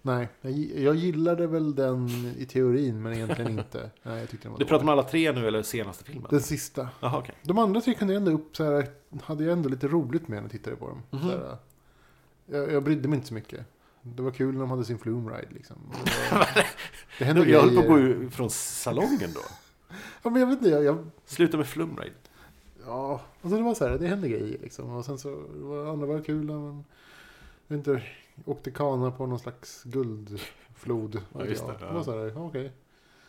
[SPEAKER 2] Nej, jag, gi- jag gillade väl den i teorin, men egentligen inte. Nej, jag tyckte den var
[SPEAKER 1] du pratar om alla tre nu, eller senaste filmen?
[SPEAKER 2] Den sista.
[SPEAKER 1] Jaha, okej.
[SPEAKER 2] De andra tre kunde jag ändå upp så här, hade jag ändå lite roligt med när jag tittade på dem.
[SPEAKER 1] Mhm.
[SPEAKER 2] Så här, eh, jag, jag brydde mig inte så mycket. Det var kul när de hade sin flume ride liksom. Det, var- det hände
[SPEAKER 1] Jag höll på att gå
[SPEAKER 2] grejer.
[SPEAKER 1] ur från salongen då.
[SPEAKER 2] Ja, men jag vet inte, jag, jag,
[SPEAKER 1] Sluta med flumride.
[SPEAKER 2] Ja, alltså det var så här, det hände grejer liksom. Och sen så var det andra var kul när man jag vet inte, åkte kana på någon slags guldflod.
[SPEAKER 1] Ja, just det,
[SPEAKER 2] Ja,
[SPEAKER 1] ja.
[SPEAKER 2] var så här, ja, okej.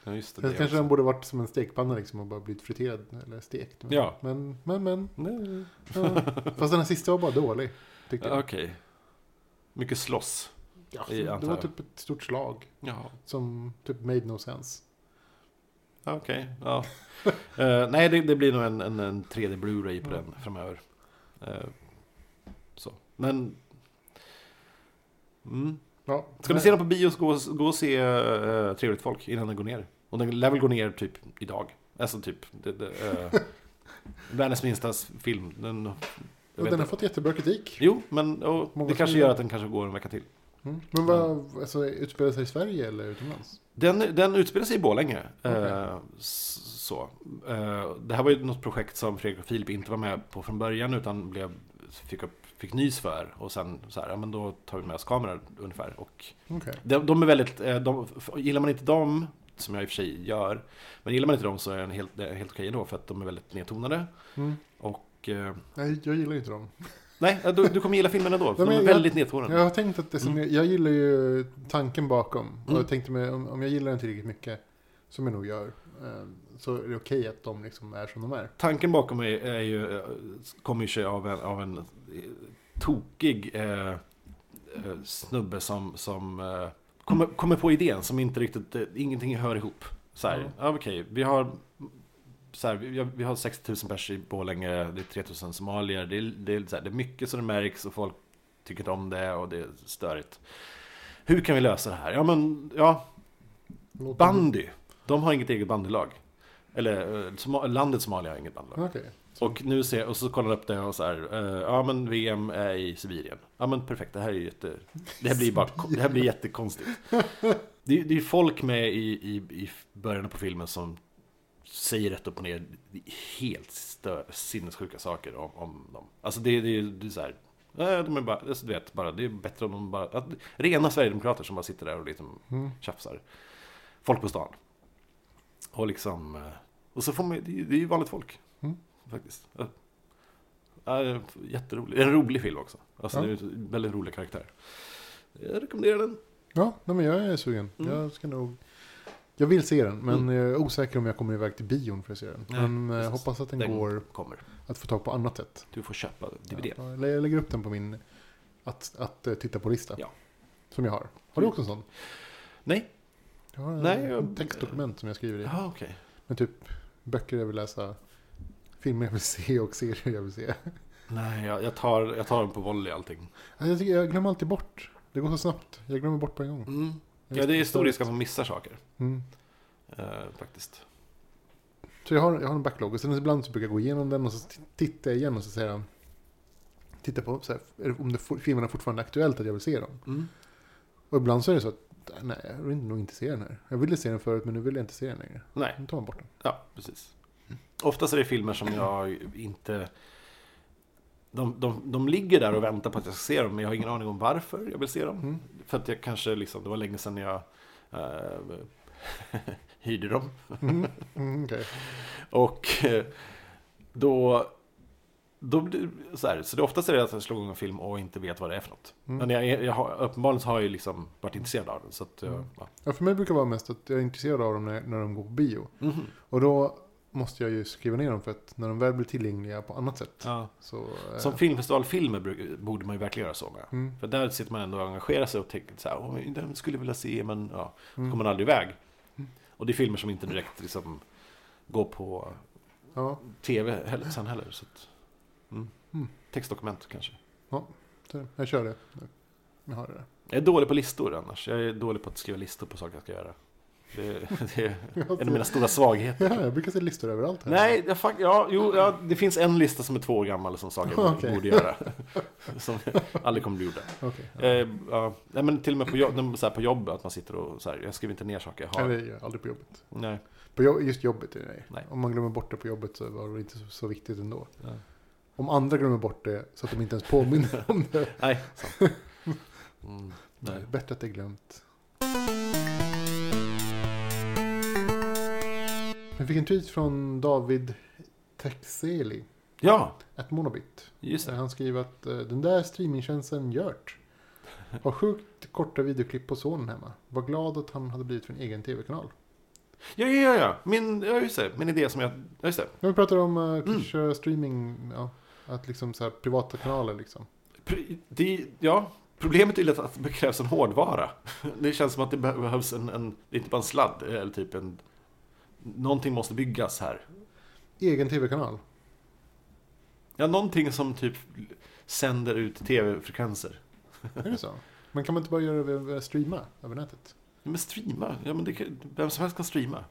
[SPEAKER 1] Ja, just det.
[SPEAKER 2] Sen
[SPEAKER 1] det
[SPEAKER 2] kanske den
[SPEAKER 1] också.
[SPEAKER 2] borde varit som en stekpanna liksom och bara blivit friterad eller stekt. Men,
[SPEAKER 1] Ja.
[SPEAKER 2] men, men, men.
[SPEAKER 1] Nej.
[SPEAKER 2] Ja. Fast den här sista var bara dålig. Tyckte
[SPEAKER 1] Ja,
[SPEAKER 2] jag.
[SPEAKER 1] Okej. Mycket slåss.
[SPEAKER 2] Ja,
[SPEAKER 1] i-
[SPEAKER 2] det
[SPEAKER 1] antar
[SPEAKER 2] var
[SPEAKER 1] jag.
[SPEAKER 2] typ ett stort slag
[SPEAKER 1] Ja.
[SPEAKER 2] som typ made no sense.
[SPEAKER 1] Ja, Okej, ja. Eh, nej, det, det blir nog en, en, en 3D Blu-ray på
[SPEAKER 2] Mm.
[SPEAKER 1] den framöver. Eh, så, men... Mm.
[SPEAKER 2] Ja,
[SPEAKER 1] Ska ni se den på bio så gå, och- gå och se eh, Trevligt Folk innan den går ner. Och den lär väl gå ner typ idag. Alltså typ... Det, det, eh, världens minsta s- film. Den, jag
[SPEAKER 2] Och
[SPEAKER 1] vet
[SPEAKER 2] den har
[SPEAKER 1] inte.
[SPEAKER 2] fått jättebra kritik.
[SPEAKER 1] Jo, men och,
[SPEAKER 2] Många
[SPEAKER 1] det kanske
[SPEAKER 2] som-
[SPEAKER 1] gör att den kanske går en vecka till.
[SPEAKER 2] Mm. Men vad, alltså utspelar sig i Sverige eller utomlands?
[SPEAKER 1] Den, den utspelar sig i Borlänge.
[SPEAKER 2] Okej.
[SPEAKER 1] Eh, s- så. Eh, det här var ju något projekt som Fredrik och Filip inte var med på från början utan blev, fick, upp, fick nys för. Och sen så här, ja men då tar vi med oss kameror ungefär. Och
[SPEAKER 2] Okej.
[SPEAKER 1] de, de är väldigt, eh, de, f- gillar man inte dem, som jag i och för sig gör, men gillar man inte dem så är den helt, det är helt okej ändå för att de är väldigt nedtonade.
[SPEAKER 2] Mm.
[SPEAKER 1] Och, eh,
[SPEAKER 2] Nej, jag gillar ju inte dem.
[SPEAKER 1] nej, eh, du, du kommer gilla filmen ändå, för
[SPEAKER 2] men
[SPEAKER 1] de är
[SPEAKER 2] jag-
[SPEAKER 1] väldigt nedtonade.
[SPEAKER 2] Jag har tänkt att det som
[SPEAKER 1] Mm.
[SPEAKER 2] jag, jag gillar ju tanken bakom. Och jag tänkte mig, om, om jag gillar den tillräckligt mycket, som jag nog gör, eh, så är det okej att de liksom är som de är.
[SPEAKER 1] Tanken bakom är, är ju, eh, kommer ju sig av en, av en eh, tokig eh, eh, snubbe som, som eh, kommer, kommer på idén som inte riktigt, eh, ingenting hör ihop. Så här,
[SPEAKER 2] Ja.
[SPEAKER 1] ja. okej, vi har så här, vi, vi har 60 000 pers i Borlänge, det är 3 000 somalier, det är, det, är, så här, det är mycket som det märks och folk tycker inte om det och det är störigt. Hur kan vi lösa det här? Ja, men ja,
[SPEAKER 2] Låter-
[SPEAKER 1] bandy. De har inget eget bandylag. Eller eh, Soma- landet Somalia har inget bandylag.
[SPEAKER 2] Okej. Så-
[SPEAKER 1] Och nu ser och så kollar jag upp det och så här, eh, ja men VM är i Sibirien. Ja men perfekt, det här är ju jätte, det här blir bara, det här blir jättekonstigt. Det, är- det är ju folk med i, i, i början på filmen som säger rätt upp och ner helt stö- sinnessjuka saker om, om dem. Alltså det, det, det är så här, eh, de är bara, alltså du vet, bara, det är bättre om de bara, att, rena Sverigedemokrater som bara sitter där och liksom
[SPEAKER 2] Mm.
[SPEAKER 1] tjafsar. Folk på stan. Och liksom, eh, och så får man, det är det är ju vanligt folk.
[SPEAKER 2] Mm.
[SPEAKER 1] Faktiskt. Eh, eh, Jätterolig, en rolig film också. Alltså
[SPEAKER 2] Ja.
[SPEAKER 1] det är ju en väldigt rolig karaktär. Jag rekommenderar den.
[SPEAKER 2] Ja, nej, men jag är sugen.
[SPEAKER 1] Mm.
[SPEAKER 2] Jag ska nog... Jag vill se den, men jag är osäker om jag kommer iväg till bion för att se den.
[SPEAKER 1] Nej,
[SPEAKER 2] men jag
[SPEAKER 1] precis.
[SPEAKER 2] hoppas att den,
[SPEAKER 1] Den-
[SPEAKER 2] går
[SPEAKER 1] Kommer.
[SPEAKER 2] att få tag på annat sätt.
[SPEAKER 1] Du får köpa DVD.
[SPEAKER 2] Ja, jag lä- jag lägger upp den på min att, att eh, titta på-lista.
[SPEAKER 1] Ja.
[SPEAKER 2] Som jag har. Har du också en sån?
[SPEAKER 1] Nej.
[SPEAKER 2] Jag har en,
[SPEAKER 1] Nej, jag-
[SPEAKER 2] en textdokument som jag skriver i.
[SPEAKER 1] Jaha, okej.
[SPEAKER 2] Med typ böcker jag vill läsa, filmer jag vill se och serier jag vill se.
[SPEAKER 1] Nej, jag, jag, tar, jag tar den på volley allting.
[SPEAKER 2] Alltså, Jag, tycker, jag glömmer alltid bort. Det går så snabbt. Jag glömmer bort på en gång.
[SPEAKER 1] Mm. Ja, det är stor risk att man missar saker.
[SPEAKER 2] Mm.
[SPEAKER 1] Eh, faktiskt.
[SPEAKER 2] Så jag har, jag har en backlog och sen ibland så brukar jag gå igenom den och så t- tittar jag igen och så säger jag Titta på så här, är det, om det, for- filmerna fortfarande är aktuellt att jag vill se dem.
[SPEAKER 1] Mm.
[SPEAKER 2] Och ibland så är det så att nej, jag vill nog inte se den här. Jag ville se den förut men nu vill jag inte se den längre.
[SPEAKER 1] Nej,
[SPEAKER 2] Nu tar man bort den.
[SPEAKER 1] ja, precis. Oftast är det filmer som jag inte... De, de, de ligger där och väntar på att jag ska se dem, men jag har ingen aning om varför jag vill se dem.
[SPEAKER 2] Mm.
[SPEAKER 1] För att jag kanske liksom, det var länge sedan jag eh, hyrde dem.
[SPEAKER 2] Mm. Mm, okej.
[SPEAKER 1] Och eh, då... då blir det så, här, så det oftast är det att jag slår igång en film och inte vet vad det är för något.
[SPEAKER 2] Mm.
[SPEAKER 1] Men jag, är- jag har, uppenbarligen så har jag ju liksom varit intresserad av den. Så att, jag-
[SPEAKER 2] Mm.
[SPEAKER 1] ja.
[SPEAKER 2] Ja, för mig brukar det vara mest att jag är intresserad av dem när, när de går på bio.
[SPEAKER 1] Mhm.
[SPEAKER 2] Och då måste jag ju skriva ner dem för att när de väl blir tillgängliga på annat sätt
[SPEAKER 1] ja.
[SPEAKER 2] så... eh,
[SPEAKER 1] Som filmfestivalfilmer bru- borde man ju verkligen göra så med.
[SPEAKER 2] mm,
[SPEAKER 1] För där sitter man ändå och engagerar sig och tänker så här, "Åh, men den skulle jag vilja se, men ja,
[SPEAKER 2] mm.
[SPEAKER 1] kommer man aldrig iväg. Och det är filmer som inte direkt liksom går på
[SPEAKER 2] Ja,
[SPEAKER 1] tv heller, sen heller. Så att, mm.
[SPEAKER 2] Mm.
[SPEAKER 1] Textdokument kanske.
[SPEAKER 2] så är det. jag kör det. nu. Jag har det där.
[SPEAKER 1] Jag är dålig på listor annars. Jag är dålig på att skriva listor på saker jag ska göra. Det, det är en av mina stora svagheter.
[SPEAKER 2] Ja, jag brukar se listor överallt här.
[SPEAKER 1] Nej, jag, fuck, ja, jo, ja, det finns en lista som är två år gammal som saker jag
[SPEAKER 2] Okej.
[SPEAKER 1] borde göra. Som aldrig kommer bli gjorda.
[SPEAKER 2] Okej. ja.
[SPEAKER 1] Eh, ja. Nej, men till och med på jobb, när- så här, på jobb att man sitter och så här, jag skriver inte ner saker jag har.
[SPEAKER 2] Eller jag gör aldrig på jobbet.
[SPEAKER 1] Nej.
[SPEAKER 2] På jobb, just jobbet är det nej.
[SPEAKER 1] Nej.
[SPEAKER 2] Om man glömmer bort det på jobbet så var det inte så, så viktigt ändå.
[SPEAKER 1] Nej.
[SPEAKER 2] Om andra glömmer bort det så att de inte ens påminner om det.
[SPEAKER 1] Nej. sant. Mm, nej.
[SPEAKER 2] Bättre att det är glömt. Vi fick en tweet från David Texeli,
[SPEAKER 1] Ja,
[SPEAKER 2] at Monobit.
[SPEAKER 1] just det.
[SPEAKER 2] Han skriver att eh, den där streamingtjänsten Gjört har sjukt korta videoklipp på sonen hemma. Var glad att han hade blivit för en egen tv-kanal.
[SPEAKER 1] Ja, ja, ja. Min, ja, just det. Min idé som jag... Ja, just det.
[SPEAKER 2] Ja, Vi pratar om uh, kanske streaming, ja, att liksom så här privata kanaler liksom.
[SPEAKER 1] Pr- Det, ja, problemet är ju att det krävs en hårdvara. Det känns som att det behövs en, en det är inte bara en sladd, eller typ en... Någonting måste byggas här.
[SPEAKER 2] Egen tv-kanal.
[SPEAKER 1] Ja, någonting som typ sänder ut tv-frekvenser.
[SPEAKER 2] Är det så? Men kan man inte bara göra det över- eh, streama över nätet?
[SPEAKER 1] Ja, men streama, ja, men det, kan- vem som helst kan streama.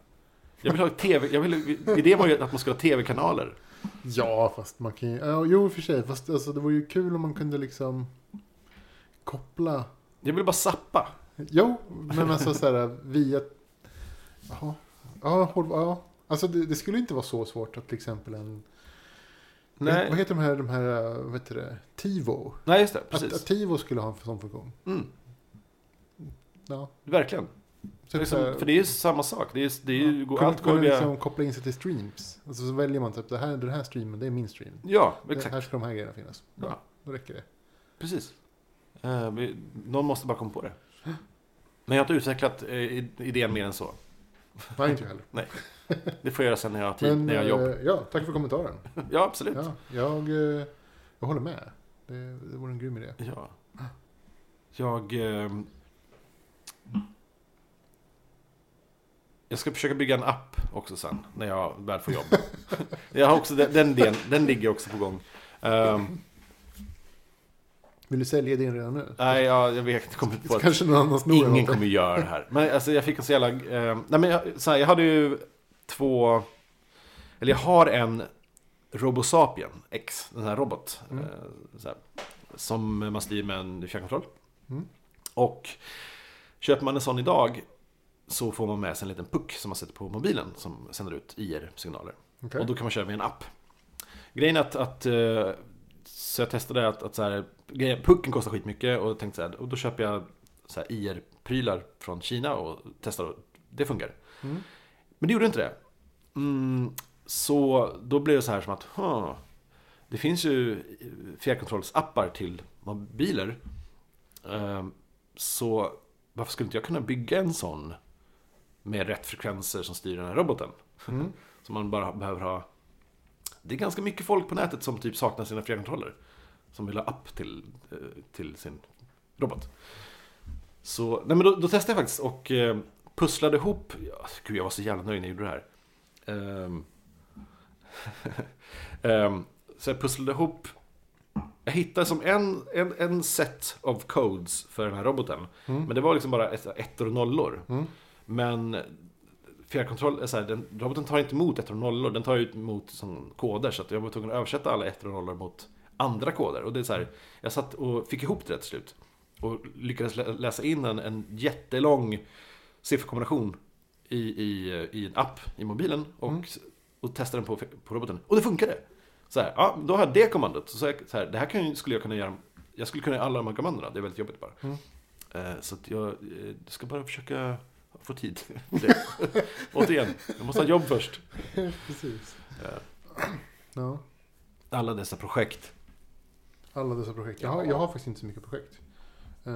[SPEAKER 1] Jag vill ha TV, jag vill, idén var ju att man skulle ha tv-kanaler.
[SPEAKER 2] Ja, fast man kan ju... ja, jo, i och för sig. Fast alltså, det vore ju kul om man kunde liksom koppla...
[SPEAKER 1] Jag vill bara sappa.
[SPEAKER 2] Jo, men alltså så här via... Jaha. Ja, håll... ja. Alltså det, det skulle inte vara så svårt att till exempel en...
[SPEAKER 1] Nej.
[SPEAKER 2] Vad heter de här, de här, vad heter det? Tivo.
[SPEAKER 1] Nej, just det,
[SPEAKER 2] Att, att
[SPEAKER 1] precis.
[SPEAKER 2] Tivo skulle ha en sån funktion.
[SPEAKER 1] Mm,
[SPEAKER 2] Ja.
[SPEAKER 1] verkligen. Det
[SPEAKER 2] Så
[SPEAKER 1] är
[SPEAKER 2] att,
[SPEAKER 1] som,
[SPEAKER 2] eh,
[SPEAKER 1] för det är ju samma sak, det är, ju- det är ju,
[SPEAKER 2] Ja,
[SPEAKER 1] allt går
[SPEAKER 2] kunna
[SPEAKER 1] via...
[SPEAKER 2] liksom koppla in sig till streams. Alltså så väljer man typ det här, den här streamen, det är min stream.
[SPEAKER 1] Ja,
[SPEAKER 2] Det,
[SPEAKER 1] exakt.
[SPEAKER 2] här ska de här grejerna finnas. Bra,
[SPEAKER 1] Ja.
[SPEAKER 2] då räcker det.
[SPEAKER 1] Precis. Eh, vi, någon måste bara komma på det. Men jag har inte utvecklat eh, i- idén mer än så.
[SPEAKER 2] Nej, inte jag heller.
[SPEAKER 1] Det får jag göra sen när jag har tid, när jag
[SPEAKER 2] eh,
[SPEAKER 1] jobbar.
[SPEAKER 2] ja, tack för kommentaren.
[SPEAKER 1] Ja, absolut. Ja.
[SPEAKER 2] Ja, jag, eh, jag håller med. Det, det vore en grym idé.
[SPEAKER 1] Jag... Eh, jag ska försöka bygga en app också sen, när jag väl får jobb. jag har också den, den idén, den ligger också på gång. Eh,
[SPEAKER 2] Vill du sälja din redan nu?
[SPEAKER 1] nej, jag, jag vet, jag kommer inte på ett
[SPEAKER 2] Kanske någon annan snor
[SPEAKER 1] Ingen
[SPEAKER 2] någonting.
[SPEAKER 1] kommer göra det här. Men alltså, jag fick en så jävla... Eh, nej, men jag, så här, jag hade ju två... Eller jag har en Robosapien X, den här robot.
[SPEAKER 2] Mm.
[SPEAKER 1] Eh, så här, som man styr med en fjärrkontroll.
[SPEAKER 2] Mm.
[SPEAKER 1] Och köper man en sån idag så får man med sig en liten puck som man sätter på mobilen som sänder ut IR-signaler.
[SPEAKER 2] Okej.
[SPEAKER 1] Och då kan man köra via en app. Grejen är att, att eh, så jag testade att, att så här, grejen- pucken kostar skitmycket och tänkte så här, och då köper jag så här IR-prylar från Kina och testar och det funkar.
[SPEAKER 2] Mm.
[SPEAKER 1] Men det gjorde inte det. Mm, så då blev det så här som att, huh, det finns ju fjärrkontrollsappar till mobiler. Ehm, så varför skulle inte jag kunna bygga en sån med rätt frekvenser som styr den här roboten?
[SPEAKER 2] Mm.
[SPEAKER 1] Som man bara behöver ha. Det är ganska mycket folk på nätet som typ saknar sina fjärrkontroller. Som vill ha app till, eh, till sin robot. Så, nej men då, då testade jag faktiskt och eh, pusslade ihop. Ja, gud, jag var så jävla nöjd när jag gjorde det här. Ehm, ehm, så jag pusslade ihop. Jag hittade som en, en, en set of codes för den här roboten.
[SPEAKER 2] Mm.
[SPEAKER 1] Men det var liksom bara ett- ettor och nollor.
[SPEAKER 2] Mm.
[SPEAKER 1] Men fjärrkontroll, är så här, den, roboten tar inte emot ettor och nollor, den tar ju emot som koder. Så att jag var tvungen att översätta alla ettor och nollor mot andra koder. Och det är så här, jag satt och fick ihop det till slut. Och lyckades lä- läsa in en, en jättelång sifferkombination i, i, i en app i mobilen. Och,
[SPEAKER 2] Mm.
[SPEAKER 1] och testade den på, på roboten. Och det funkade! Så här, ja, då har jag det kommandot. Så jag, så här, det här kan, ju- skulle jag kunna göra, jag skulle kunna göra alla de här kommandona. Det är väldigt jobbigt bara.
[SPEAKER 2] Mm.
[SPEAKER 1] Eh, Så att jag eh, ska bara försöka få tid för det. Återigen, jag måste ha jobb först.
[SPEAKER 2] Precis.
[SPEAKER 1] Ja.
[SPEAKER 2] Ja.
[SPEAKER 1] Alla dessa projekt.
[SPEAKER 2] Alla dessa projekt. Jag har, jag har faktiskt inte så mycket projekt. Eh,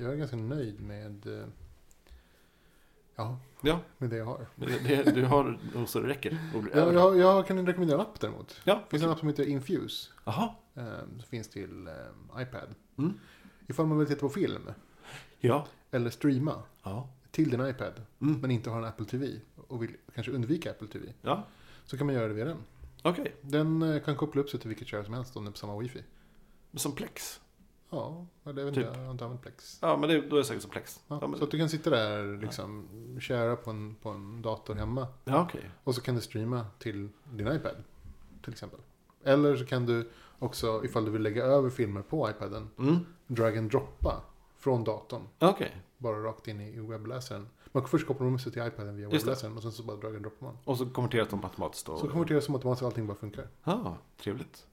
[SPEAKER 2] Jag är ganska nöjd med, eh, ja,
[SPEAKER 1] Ja,
[SPEAKER 2] med det jag har.
[SPEAKER 1] men det, det, du har nog så det räcker. Och blir
[SPEAKER 2] Jag,
[SPEAKER 1] över.
[SPEAKER 2] jag, jag kan rekommendera en app däremot.
[SPEAKER 1] Ja,
[SPEAKER 2] Det finns en app som heter Infuse.
[SPEAKER 1] Jaha.
[SPEAKER 2] eh, Som finns till eh, iPad.
[SPEAKER 1] Mm.
[SPEAKER 2] Ifall man vill titta på film
[SPEAKER 1] Ja.
[SPEAKER 2] eller streama
[SPEAKER 1] Ja.
[SPEAKER 2] till din iPad.
[SPEAKER 1] Mm.
[SPEAKER 2] Men inte har en Apple TV och vill kanske undvika Apple TV.
[SPEAKER 1] Ja,
[SPEAKER 2] Så kan man göra det via den.
[SPEAKER 1] okej.
[SPEAKER 2] Den eh, kan koppla upp sig till vilket kör som helst om det är på samma wifi.
[SPEAKER 1] Som Plex.
[SPEAKER 2] Ja, eller jag vet
[SPEAKER 1] Typ.
[SPEAKER 2] inte, jag har inte använt Plex.
[SPEAKER 1] Ja, men det, då är det säkert som Plex.
[SPEAKER 2] Ja,
[SPEAKER 1] Ja, men,
[SPEAKER 2] Så att du kan sitta där liksom, köra på en, på en dator hemma.
[SPEAKER 1] ja okej.
[SPEAKER 2] Och så kan du streama till din iPad. Till exempel. Eller så kan du också, ifall du vill lägga över filmer på iPaden,
[SPEAKER 1] Mm.
[SPEAKER 2] drag and droppa från datorn.
[SPEAKER 1] Ja, Okej.
[SPEAKER 2] Bara rakt in i i webbläsaren. Man först kopplar man sig till iPaden via
[SPEAKER 1] Just det.
[SPEAKER 2] webbläsaren och sen så bara drag and droppar man.
[SPEAKER 1] Och så konverteras de automatiskt då?
[SPEAKER 2] Så konverteras det som automatiskt, allting bara funkar.
[SPEAKER 1] Ja, trevligt.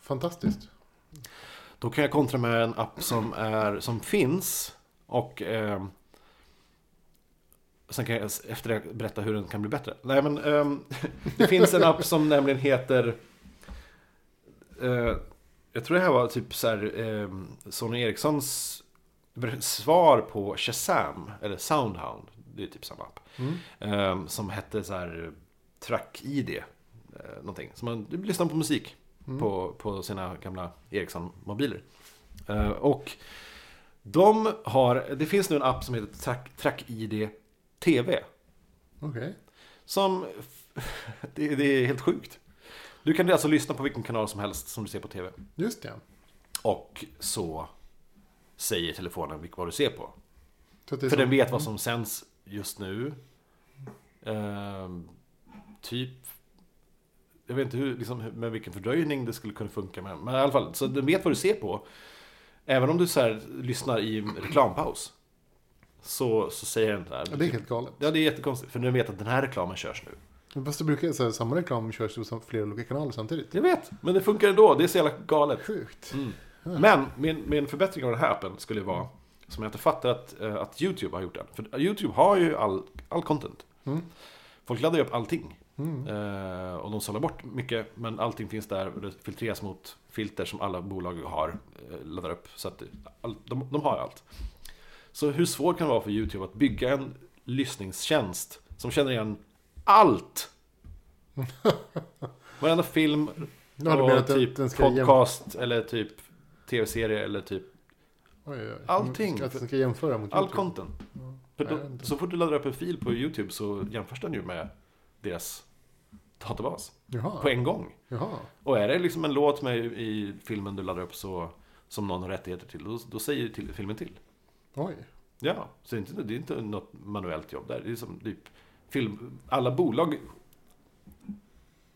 [SPEAKER 2] Fantastiskt.
[SPEAKER 1] Då kan jag kontra med en app som, är, som finns och eh, sen kan jag s- efter det berätta hur den kan bli bättre. Nej men ehm, det finns en app som nämligen heter eh, Jag tror det här var typ så här ehm, Sony Ericssons br- svar på Shazam eller Soundhound. Det är typ samma app.
[SPEAKER 2] Mm.
[SPEAKER 1] Ehm, som hette så här Track ID. Eh, någonting. Så man lyssnar på musik
[SPEAKER 2] Mm.
[SPEAKER 1] på, på sina gamla Ericsson-mobiler. Eh, och de har, det finns nu en app som heter Track, Track ID TV.
[SPEAKER 2] Mm. Okej.
[SPEAKER 1] Som, det, det är helt sjukt. Du kan alltså lyssna på vilken kanal som helst som du ser på TV.
[SPEAKER 2] Just det.
[SPEAKER 1] Och så säger telefonen vilk- vad du ser på.
[SPEAKER 2] Så att det är
[SPEAKER 1] För
[SPEAKER 2] som- Mm.
[SPEAKER 1] den vet vad som sänds just nu. Ehm, typ... Jag vet inte hur, liksom, hur- med vilken fördröjning det skulle kunna funka med. Men i alla fall, så den vet vad du ser på. Även om du så här, lyssnar i en reklampaus. Så, så säger den där.
[SPEAKER 2] Mm. Ja, det är helt galet.
[SPEAKER 1] Ja, det är jättekonstigt. För den vet att den här reklamen körs nu.
[SPEAKER 2] Men Fast det brukar så här, samma reklam körs på sam- flera olika kanaler samtidigt.
[SPEAKER 1] Jag vet, men det funkar ändå. Det är så jävla galet.
[SPEAKER 2] Sjukt.
[SPEAKER 1] Men min, min förbättring av den här appen skulle vara, som jag inte fattar att, eh, att YouTube har gjort den. För YouTube har ju all, all content.
[SPEAKER 2] Mm.
[SPEAKER 1] Folk laddar ju upp allting.
[SPEAKER 2] Mm.
[SPEAKER 1] Eh, och de sållar bort mycket, men allting finns där och det filtreras mot filter som alla bolag har, eh, laddar upp. Så att all, de, de har allt. Så hur svårt kan det vara för YouTube att bygga en lyssningstjänst som känner igen allt? Varenda film,
[SPEAKER 2] Du hade
[SPEAKER 1] och
[SPEAKER 2] menat att
[SPEAKER 1] typ
[SPEAKER 2] den ska jäm-
[SPEAKER 1] podcast eller typ tv-serie eller typ
[SPEAKER 2] Oj, oj, oj.
[SPEAKER 1] Allting.
[SPEAKER 2] Att den ska jämföra mot
[SPEAKER 1] all
[SPEAKER 2] YouTube.
[SPEAKER 1] content. För
[SPEAKER 2] Nej, jag vet
[SPEAKER 1] då,
[SPEAKER 2] inte.
[SPEAKER 1] så fort du laddar upp en fil på YouTube så jämförs den ju med deras databas
[SPEAKER 2] Jaha.
[SPEAKER 1] på en gång.
[SPEAKER 2] Jaha.
[SPEAKER 1] Och är det liksom en låt med i- i filmen du laddar upp så, som någon har rättigheter till, då, då säger ju till, filmen till.
[SPEAKER 2] Oj.
[SPEAKER 1] Ja, så det är inte, det är inte något manuellt jobb där. Det är som typ film, alla bolag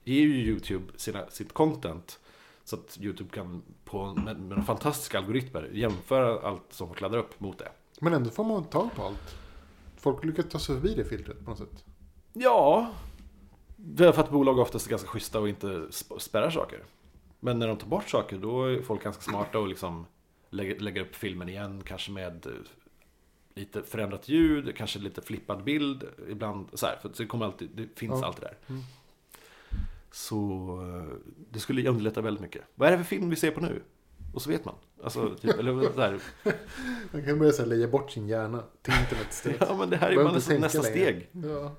[SPEAKER 1] ger ju YouTube sina, sitt content så att YouTube kan på, med, med de fantastiska algoritmer jämföra allt som folk laddar upp mot det.
[SPEAKER 2] Men ändå får man tag på allt. folk lyckas ta sig förbi det filtret på något sätt.
[SPEAKER 1] Ja, det är för att bolag oftast är ganska schyssta och inte sp- spärrar saker. Men när de tar bort saker då är folk ganska smarta och liksom lägger, lägger upp filmen igen. Kanske med eh, lite förändrat ljud, kanske lite flippad bild. Ibland så här, för det, kommer alltid, det finns
[SPEAKER 2] Ja.
[SPEAKER 1] alltid där.
[SPEAKER 2] Mm.
[SPEAKER 1] Så eh, det skulle underlätta väldigt mycket. Vad är det för film vi ser på nu? Och så vet man. Alltså, typ, eller så här,
[SPEAKER 2] Man kan börja så här, leja bort sin hjärna till internet istället.
[SPEAKER 1] ja men det här är
[SPEAKER 2] Behöver
[SPEAKER 1] bara
[SPEAKER 2] inte
[SPEAKER 1] nästa,
[SPEAKER 2] tänka
[SPEAKER 1] nästa
[SPEAKER 2] längre.
[SPEAKER 1] steg.
[SPEAKER 2] Ja.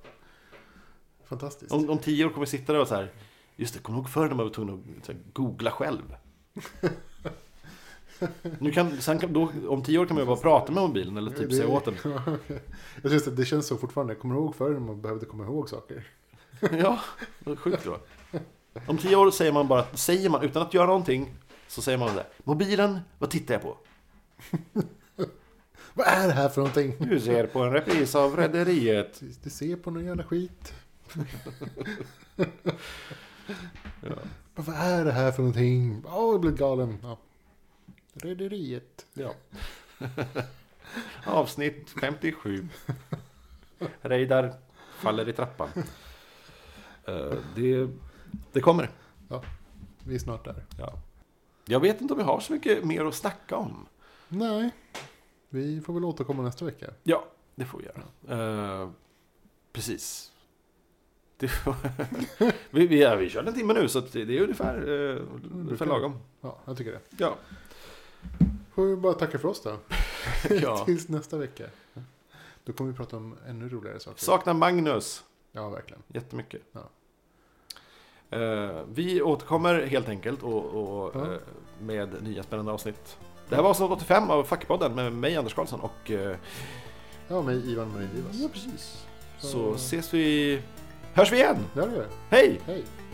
[SPEAKER 2] Fantastiskt.
[SPEAKER 1] Om, om tio år kommer vi sitta där och så här. Just det, kommer du ihåg förr när man var tvungen att så här, googla själv? Nu kan, sen kan, då, om tio år kan man ju bara prata med mobilen eller typ
[SPEAKER 2] Det-
[SPEAKER 1] säga åt den.
[SPEAKER 2] Jag syns att det känns så fortfarande. Jag kommer ihåg förr när man behövde komma ihåg saker.
[SPEAKER 1] Ja, det är sjukt då. Om tio år säger man bara, säger man utan att göra någonting, så säger man det. Mobilen, vad tittar jag på?
[SPEAKER 2] Vad är det här för någonting?
[SPEAKER 1] Du ser på en repris av Rederiet.
[SPEAKER 2] Du ser på någon jävla skit.
[SPEAKER 1] Ja.
[SPEAKER 2] Vad är det här för någonting? Åh, jag blev galen. Ja. Rederiet.
[SPEAKER 1] Ja. Avsnitt 57. Reidar faller i trappan. Eh, Det, det kommer.
[SPEAKER 2] Vi är snart där.
[SPEAKER 1] Ja. Jag vet inte om vi har så mycket mer att snacka om.
[SPEAKER 2] Nej, vi får väl återkomma nästa vecka.
[SPEAKER 1] Ja, det får vi göra. Eh, precis. Det var, vi, vi, ja, vi körde en timme nu så att det det är ungefär, uh, ungefär lagom.
[SPEAKER 2] Ja, jag tycker det.
[SPEAKER 1] Ja.
[SPEAKER 2] Får vi bara tacka för oss då.
[SPEAKER 1] ja.
[SPEAKER 2] Tills nästa vecka. Då kommer vi prata om ännu roligare saker.
[SPEAKER 1] Saknar Magnus.
[SPEAKER 2] Ja, verkligen.
[SPEAKER 1] Jättemycket.
[SPEAKER 2] Ja.
[SPEAKER 1] Eh, vi återkommer helt enkelt och, och,
[SPEAKER 2] Ja.
[SPEAKER 1] eh, med nya spännande avsnitt. Det här var avsnitt 85 av Fackpodden med mig Anders Karlsson och... eh,
[SPEAKER 2] Ja, med Ivan Marin Rivas.
[SPEAKER 1] precis. Så
[SPEAKER 2] Så-
[SPEAKER 1] ses vi... Hörs vi igen!
[SPEAKER 2] Där är vi.
[SPEAKER 1] Hej!
[SPEAKER 2] Hej.